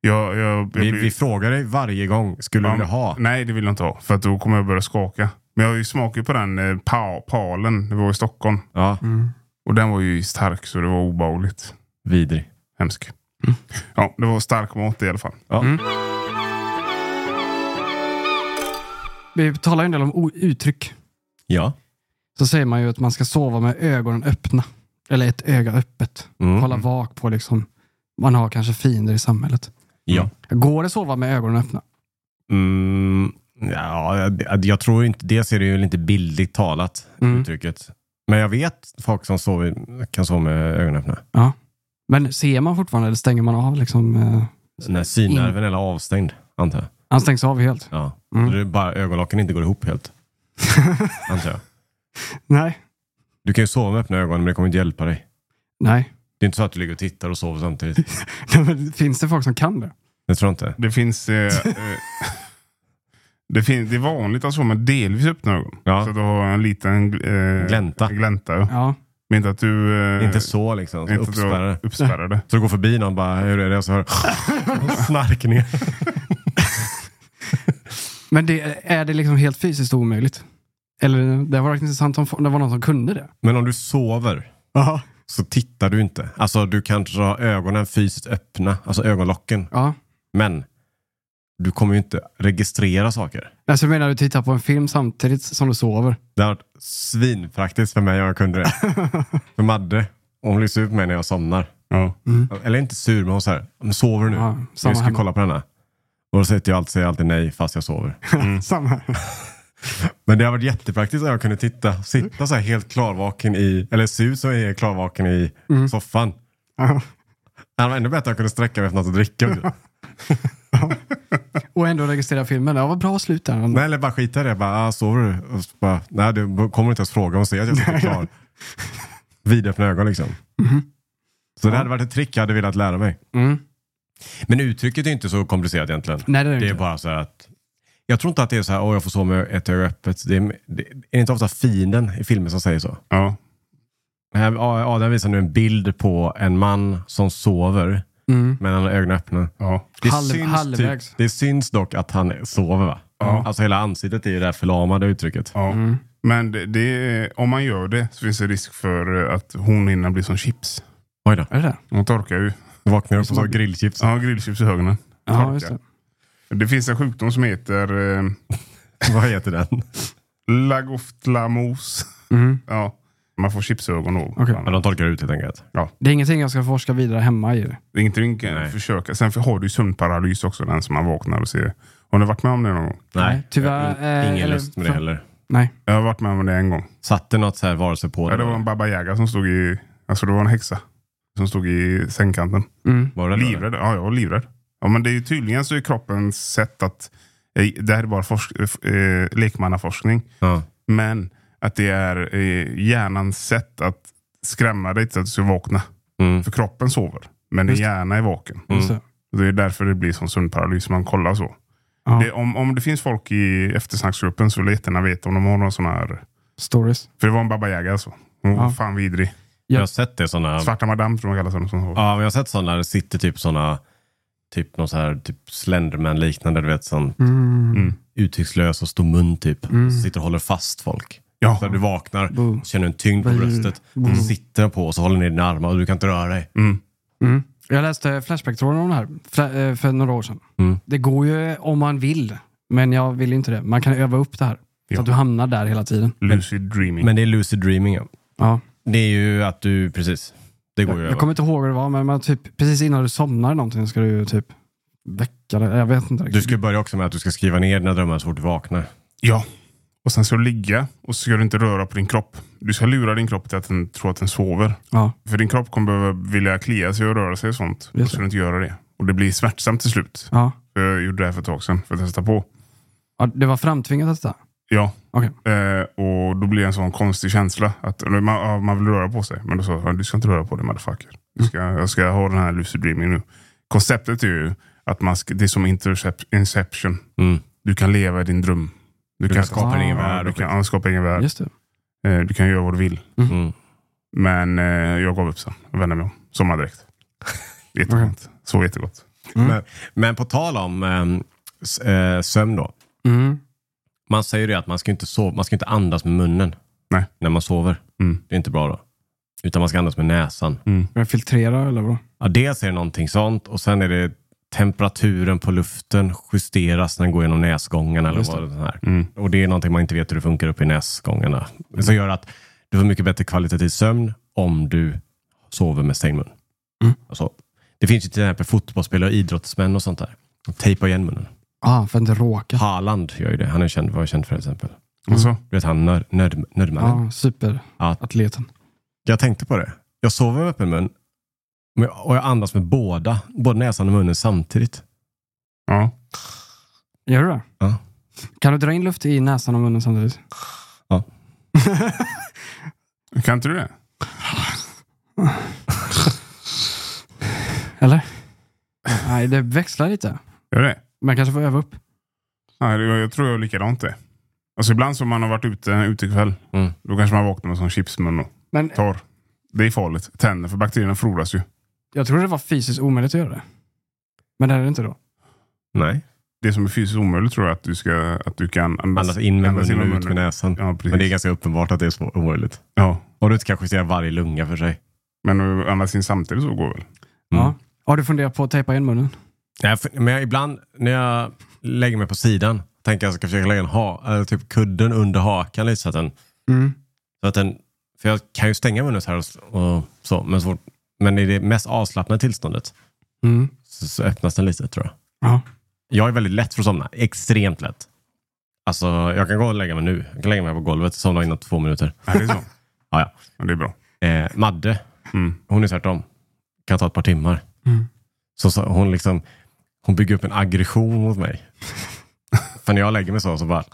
C: Jag, jag, jag
A: Vi,
C: blir-
A: vi frågar dig varje gång. Skulle du
C: Ja,
A: vilja ha?
C: Nej, det vill jag inte ha. För att då kommer jag börja skaka. Men jag har ju smakat på den eh, pa, palen. Det var i Stockholm.
A: Ja,
C: Och den var ju stark så det var obehagligt.
A: vidrig.
C: Hemsk.
A: Mm.
C: Ja, det var stark mat i alla fall.
A: Ja.
B: Vi talar ju en del om o- uttryck.
A: Ja.
B: Så säger man ju att man ska sova med ögonen öppna. Eller ett öga öppet.
A: Mm.
B: Hålla vak på liksom, man har kanske fiender i samhället.
A: ja.
B: Går det att sova med ögonen öppna?
A: Mm, ja, jag, jag tror inte, dels är det ju inte bildligt talat,
B: Mm.
A: uttrycket. Men jag vet folk som sover, kan sova med ögonen öppna.
B: Ja. Men ser man fortfarande eller stänger man av liksom? Eh,
A: När synnerven eller avstängd, antar jag.
B: han stängs av helt?
A: Ja.
B: Mm.
A: Så det är bara ögonlocken inte går ihop helt, antar jag.
B: Nej.
A: Du kan ju sova med öppna ögon, men det kommer inte hjälpa dig.
B: Nej.
A: Det är inte så att du ligger och tittar och sover samtidigt.
B: Nej, men Finns det folk som kan det?
A: Det tror jag inte.
C: Det finns... Eh, eh, det, fin det är vanligt att sova med delvis öppna ögon.
A: Ja.
C: Så att du har en liten eh,
A: Glänta.
C: glänta ja.
B: Ja.
C: Men inte att du... Eh,
A: Inte så liksom, så
C: inte att du har
A: uppspärrade.
C: uppspärrade.
A: Så du går förbi någon och bara, hur är det? Och så hör snarkningar.
B: Men det, är det liksom helt fysiskt omöjligt? Eller det var intressant om det var någon som kunde det.
A: Men om du sover,
B: Ja.
A: så tittar du inte. Alltså du kan dra ögonen fysiskt öppna, alltså ögonlocken.
B: Ja.
A: Men Du kommer ju inte registrera saker.
B: Alltså menar du tittar på en film samtidigt som du sover?
A: Det hade varit svinpraktiskt för mig om jag kunde det. för Madde, hon blir sur på mig när jag somnar.
C: Ja.
A: Eller inte sur, men hon säger, men sover du nu?
B: Mm. Ja, samma
A: vi ska
B: hemma.
A: kolla på denna. Och då säger jag alltid, säger jag alltid nej fast jag sover.
B: Samma här.
A: Men det har varit jättepraktiskt om jag kunde titta, sitta så här helt klarvaken i, eller se ut som jag är klarvaken i soffan.
B: Mm. Ja.
A: Det hade varit ännu bättre om jag kunde sträcka mig efter något att dricka. typ.
B: Och ändå registrera filmen. Ja, vad bra slut där.
A: Nej, eller bara skita i det. Bara, ah, sover du? Och så bara, Nej, du kommer inte ens fråga. Hon ser att jag sitter klar. Vidöppna ögon liksom. Så det hade varit ett trick jag hade velat lära mig.
B: Mhm. Mm.
A: Men uttrycket är inte så komplicerat egentligen.
B: Nej, det är det
A: Det är
B: inte.
A: bara så här att... Jag tror inte att det är så här, åh jag får sova med ett öga öppet. Det är, det, är det inte ofta fienden i filmer som säger så?
C: Ja.
A: Här, ja, den visar nu en bild på en man som sover,
B: Mm.
A: men han har ögonen öppna.
C: Ja.
A: Det,
B: Halv-
A: syns
B: halvvägs.
A: typ, det syns dock att han sover va?
C: Ja.
A: Alltså hela ansiktet är ju det här förlamade uttrycket.
C: ja.
B: Mm.
C: Men det, det, om man gör det så finns det risk för eh, att hornhinnan blir som chips.
A: Oj då.
B: Är det det?
C: De torkar ju.
A: Jag vaknar upp och så har grillchips.
C: Ja, grillchips i ögonen.
B: Ja, just det.
C: Det finns en sjukdom som heter eh,
A: Vad heter den?
C: lagoftlamos.
B: Mm.
C: Ja. Man får chipsögon då.
B: Okej.
A: Ja, de torkar ut helt enkelt.
B: Det är ingenting jag ska forska vidare hemma i.
C: Det är ingenting du kan
A: Nej.
C: försöka. Sen har du ju sömnparalys också, den som man vaknar och ser. Har ni varit med om det någon gång?
B: Nej, tyvärr,
A: jag-
B: eh,
A: Ingen
B: eller-
A: lust med det heller.
B: Nej.
C: Jag har varit med om det en gång.
A: Satt det något så här varelse på
C: Ja, det var en Baba Yaga som stod i... Alltså det var en häxa. Som stod i sängkanten.
B: Mm.
A: Var det det?
C: Livrädd. Ja, jag var livrädd. Ja, men det är ju tydligen så är kroppens sätt att... eh, Det här är bara forsk, eh, lekmannaforskning.
A: Ja.
C: Men att det är eh, hjärnans sätt att skrämma dig så att du ska vakna.
A: Mm.
C: För kroppen sover. Men din
B: Just Mm. det.
C: hjärna är vaken.
B: Just det.
C: Det är därför det blir som sömnparalys. Man kollar så.
B: Ja.
C: Det, om, om det finns folk i eftersnacksgruppen så vill jag jättegärna veta om de har någon sån här...
B: Stories.
C: För det var en Baba Yaga alltså. Hon var
B: Ja.
C: fan vidrig.
A: Jag har sett det sådana...
C: Svarta Madame tror jag man kallas. Som
A: Ja, men jag har sett sådana. Det sitter typ sådana... Typ någon så här typ Slenderman-liknande, du vet. Sån
B: Mm.
C: Mm.
A: uttryckslös och stor mun typ.
B: Mm.
A: Sitter och håller fast folk.
C: Ja.
A: Så här, du vaknar,
B: Boo.
A: känner en tyngd på
B: Vad är det?
A: bröstet.
B: Mm.
A: Sitter på och så håller ner dina armar och du kan inte röra dig.
C: Mm.
B: Mm. Jag läste Flashback-tråden om det här för, eh, för några år sedan.
A: Mm.
B: Det går ju om man vill, men jag vill inte det. Man kan öva upp det här.
C: Ja.
B: Så att du hamnar där hela tiden.
C: Lucid Dreaming.
A: Men det är lucid dreaming. Ja.
B: Ja.
A: Det är ju att du, precis. Det går ju
B: Jag
A: över.
B: kommer inte ihåg vad det var, men man typ, precis innan du somnar någonting ska du typ väcka det. Jag vet inte
A: Du
B: riktigt.
A: ska börja också med att du ska skriva ner dina drömmar så fort du vaknar.
C: Ja. Och sen ska du ligga och så ska du inte röra på din kropp. Du ska lura din kropp till att den tror att den sover.
B: Ja.
C: För din kropp kommer behöva vilja klia sig och röra sig och sånt.
B: Just
C: Då ska
B: det.
C: du inte göra det. Och det blir smärtsamt till slut.
B: Ja.
C: Jag gjorde det här för ett tag sedan för att testa på.
B: ja. Det var framtvingat detta.
C: Ja.
B: Okej.
C: Eh, och då blir det en sån konstig känsla. Att eller man, ja, man vill röra på sig. Men då sa jag, du ska inte röra på dig motherfucker. Du ska, Jag ska ha den här lucid dreaming nu. Konceptet är ju att man ska, det är som intercep- inception.
A: Mm.
C: Du kan leva i din dröm. Du,
A: kan skapa
B: din egen
C: Ja,
A: värld
C: Du
A: och
C: kan ja, skapa din egen värld.
B: Just det.
C: Eh, Du kan göra vad du vill.
A: Mm.
C: Men eh, jag gav upp sen. Jag vände mig om. Sommardräkt. Jättegott. Så jättegott.
A: Men, men på tal om ehm, s- eh, sömn då.
B: Mm.
A: Man säger ju det att man ska inte, sova, man ska inte andas med munnen
C: Nej.
A: när man sover.
C: Mm.
A: Det är inte bra då. Utan man ska andas med näsan.
B: Ska jag filtrera eller vad?
A: Ja, dels är det någonting sånt och sen är det temperaturen på luften justeras när den går genom näsgångarna. Eller
B: Just
A: vad det. Här.
C: Mm.
A: Och det är någonting man inte vet hur det funkar uppe i näsgångarna. Det som gör att du får mycket bättre kvalitativ sömn om du sover med stängd mun.
B: Mm.
A: Alltså, det finns ju till exempel fotbollsspelare och idrottsmän och sånt där. De tejpar igen munnen.
B: Ah, för att inte råka.
A: Haaland gör ju det. Han är känd, var känd för till exempel.
C: Och så,
A: Du vet han nörd, nörd, nördmannen.
B: Ja, superatleten.
A: Jag tänkte på det. Jag sover med öppen mun men- och jag andas med båda, både näsan och munnen samtidigt.
C: ja.
B: Gör du det?
A: Ja.
B: Kan du dra in luft i näsan och munnen samtidigt?
A: Ja.
C: Kan inte du det?
B: Eller? Nej, det växlar lite.
C: Gör det?
B: Man kanske får öva upp.
C: Nej, det- jag tror jag är likadant det. Alltså ibland som man har varit ute, ute ikväll.
A: Mm.
C: Då kanske man vaknar med sån chipsmun och
B: Men
C: torr. Det är farligt. Tänder, för bakterierna frodas ju.
B: jag tror det var fysiskt omöjligt att göra det. Men det är det inte då.
A: Nej.
C: Det som är fysiskt omöjligt tror jag att du, ska, att du kan andas,
A: Andas in med
C: andas
A: munnen och
C: genom
A: ut med näsan.
C: Ja, precis.
A: Men det är ganska uppenbart att det är svår, omöjligt.
C: ja.
A: Och du inte kan justera varje lunga för sig.
C: Men att andas in samtidigt så går väl?
B: Ja. Har du funderat på att tejpa igen munnen?
A: Nej, för, men jag, ibland när jag lägger mig på sidan tänker jag att jag ska försöka lägga en ha, eller typ kudden under hakan lite så att den...
B: Mm.
A: Så att den för jag kan ju stänga munnen så här och, s- och så, men, så fort, men i det mest avslappnade tillståndet
B: Mm.
A: så, så öppnas den lite tror jag.
B: Ja.
A: Jag är väldigt lätt för att somna. Extremt lätt. Alltså, jag kan gå och lägga mig nu. Jag kan lägga mig på golvet och somna inom två minuter.
C: Ja, det är så.
A: Ja, ja.
C: Men det är bra.
A: Eh, Madde,
C: Mm.
A: hon är tvärtom. Kan ta ett par timmar. Så, så hon liksom, hon bygger upp en aggression mot mig. För när jag lägger mig så, så bara...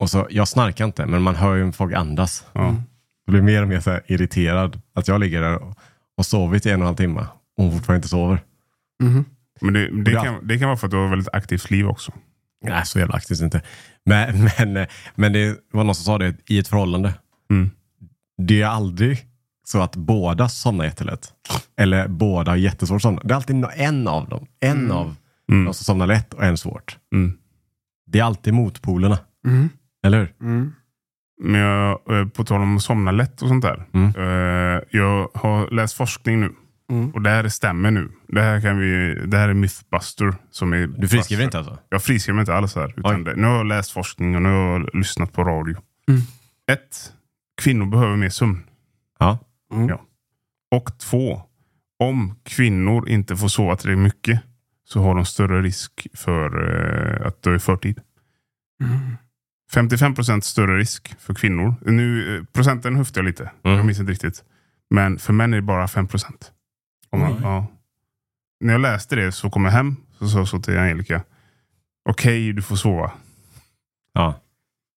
A: Och så, jag snarkar inte, men man hör ju folk andas. Mm.
C: Ja.
A: Jag blir mer och mer så här irriterad. Att jag ligger där och, och sovit i en och en halv timme. Och hon fortfarande inte sover.
C: Men det, det,
A: Ja.
C: kan, det kan vara för att du har ett väldigt aktivt liv också.
A: Nej, så jävla aktivt inte. Men, men, eh, men det var någon som sa det i ett förhållande.
C: Mm.
A: Det är aldrig så att båda somnar jättelätt. Eller båda har jättesvårt att somna. Det är alltid no- en av dem. En av
C: Mm.
A: dem som somnar lätt och en svårt.
C: Mm.
A: Det är alltid motpolerna.
B: Mm.
A: Eller hur?
B: Mm.
C: Men jag, eh, på tal om att somna lätt och sånt där.
A: Mm.
C: Eh, Jag har läst forskning nu.
B: Mm.
C: Och det här stämmer nu. Det här, kan vi, det här är Mythbuster. Som är
A: Du friskriver inte alltså?
C: Jag friskriver mig inte alls här. Utan
A: Oj.
C: det, nu har jag läst forskning och nu har jag lyssnat på radio.
B: Mm.
C: Ett, kvinnor behöver mer sömn.
A: Ja.
C: Och två, om kvinnor inte får sova tillräckligt mycket så har de större risk för eh, att dö i förtid. 55 procent större risk för kvinnor. Nu, eh, procenten höftar jag lite.
A: Mm.
C: Jag minns inte riktigt. Men för män är det bara 5 procent. Om man, ja. När jag läste det så kom jag hem så sa jag så till Angelica. Okej, du får sova.
A: ja.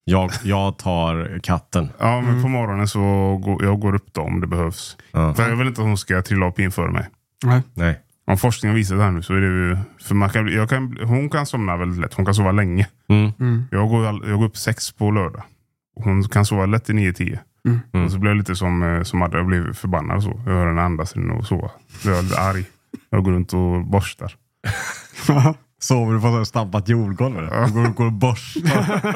A: Jag, jag tar katten.
C: Ja, men på morgonen så går jag går upp då om det behövs.
A: Ja.
C: För jag vill inte att hon ska trilla upp inför mig.
B: Nej.
A: Nej.
C: Om forskningen visar det här nu så är det ju... För man kan, jag kan, hon kan somna väldigt lätt. Hon kan sova länge.
A: Mm.
B: Mm.
C: Jag går, all- jag går upp sex på lördag. Och Hon kan sova lätt till 9-10.
B: Mm.
C: Och så blir jag lite som, eh, som Adde. Jag blir förbannad och så. Jag hör henne andas in och sova. Så blir jag lite arg. Jag går runt och borstar.
A: Sover du på så här stampat jordgolv? eller? Du går, går och borstar.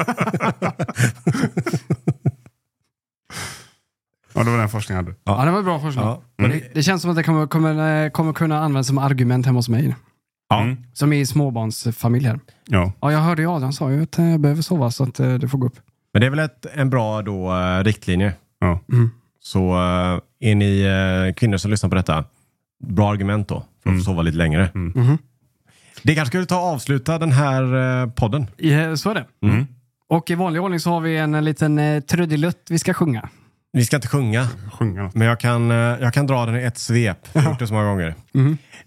C: Ja, det var den forskningen jag hade.
B: Ja, det var bra forskning.
A: Ja.
B: Det, det känns som att det kommer, kommer, eh, kommer kunna användas som argument hemma hos mig.
C: Ja.
B: Som i småbarnsfamiljer.
C: Ja.
B: Ja, jag hörde ju Adrian sa ju att eh, jag behöver sova så att eh, du får gå upp.
A: Men det är väl ett, en bra då, eh, riktlinje.
C: Ja.
A: Så eh, är ni eh, kvinnor som lyssnar på detta, bra argument då. För att få sova lite längre. Det kanske skulle ta och avsluta den här eh, podden.
B: Ja, så är det.
A: Mm.
B: Och i vanlig ordning så har vi en liten eh, trudelutt vi ska sjunga.
A: Vi ska inte sjunga,
C: Sjunga något.
A: men jag kan, eh, jag kan dra den i ett svep. Jag har gjort det så många gånger.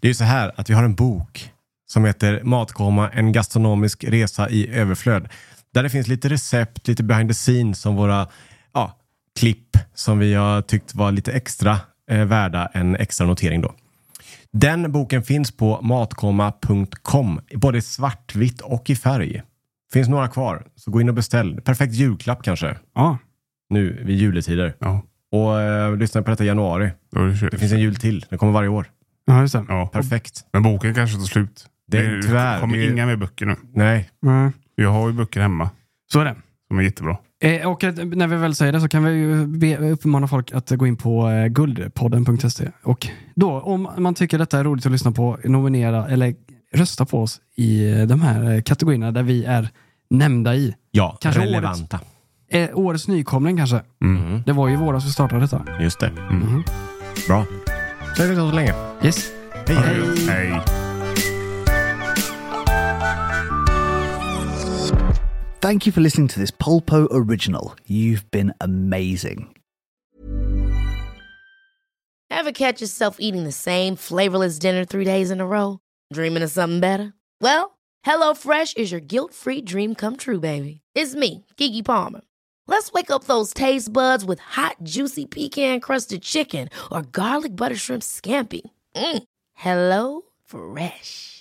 A: Det är ju så här att vi har en bok som heter Matkoma, en gastronomisk resa i överflöd. Där det finns lite recept, lite behind the scenes som våra ja, klipp som vi har tyckt var lite extra eh, värda en extra notering då. Den boken finns på matkoma.com, både i svartvitt och i färg. Finns några kvar, så gå in och beställ. Perfekt julklapp kanske,
B: Ja.
A: nu vid juletider.
C: Ja.
A: Och eh, lyssna på detta i januari.
C: Då är det kört.
A: Det finns en jul till. Den kommer varje år.
B: Ja, just det.
C: ja.
A: Perfekt.
C: Men boken kanske tar slut.
A: Det är tyvärr-
C: kommer
A: det är-
C: inga mer böcker nu.
A: Nej,
B: Mm.
C: Jag har ju böcker hemma
B: Så är det.
C: som är jättebra.
B: Eh, och att, när vi väl säger det så kan vi ju be, uppmana folk att gå in på eh, guldpodden.se. Och då, om man tycker detta är roligt att lyssna på, nominera eller rösta på oss i eh, de här eh, kategorierna där vi är nämnda i.
A: Ja,
B: Kanske
A: relevanta.
B: Eh, årets nykomling kanske.
A: Mm.
B: Det var ju i våras vi startade detta.
A: Just det. Mm. Bra. Så är det så länge.
B: Yes.
A: Hej, hej.
C: Hej.
D: Thank you for listening to this Polpo original. You've been amazing.
E: Ever catch yourself eating the same flavorless dinner three days in a row? Dreaming of something better? Well, HelloFresh is your guilt free dream come true, baby. It's me, Gigi Palmer. Let's wake up those taste buds with hot, juicy pecan crusted chicken or garlic butter shrimp scampi. Mm. Hello Fresh.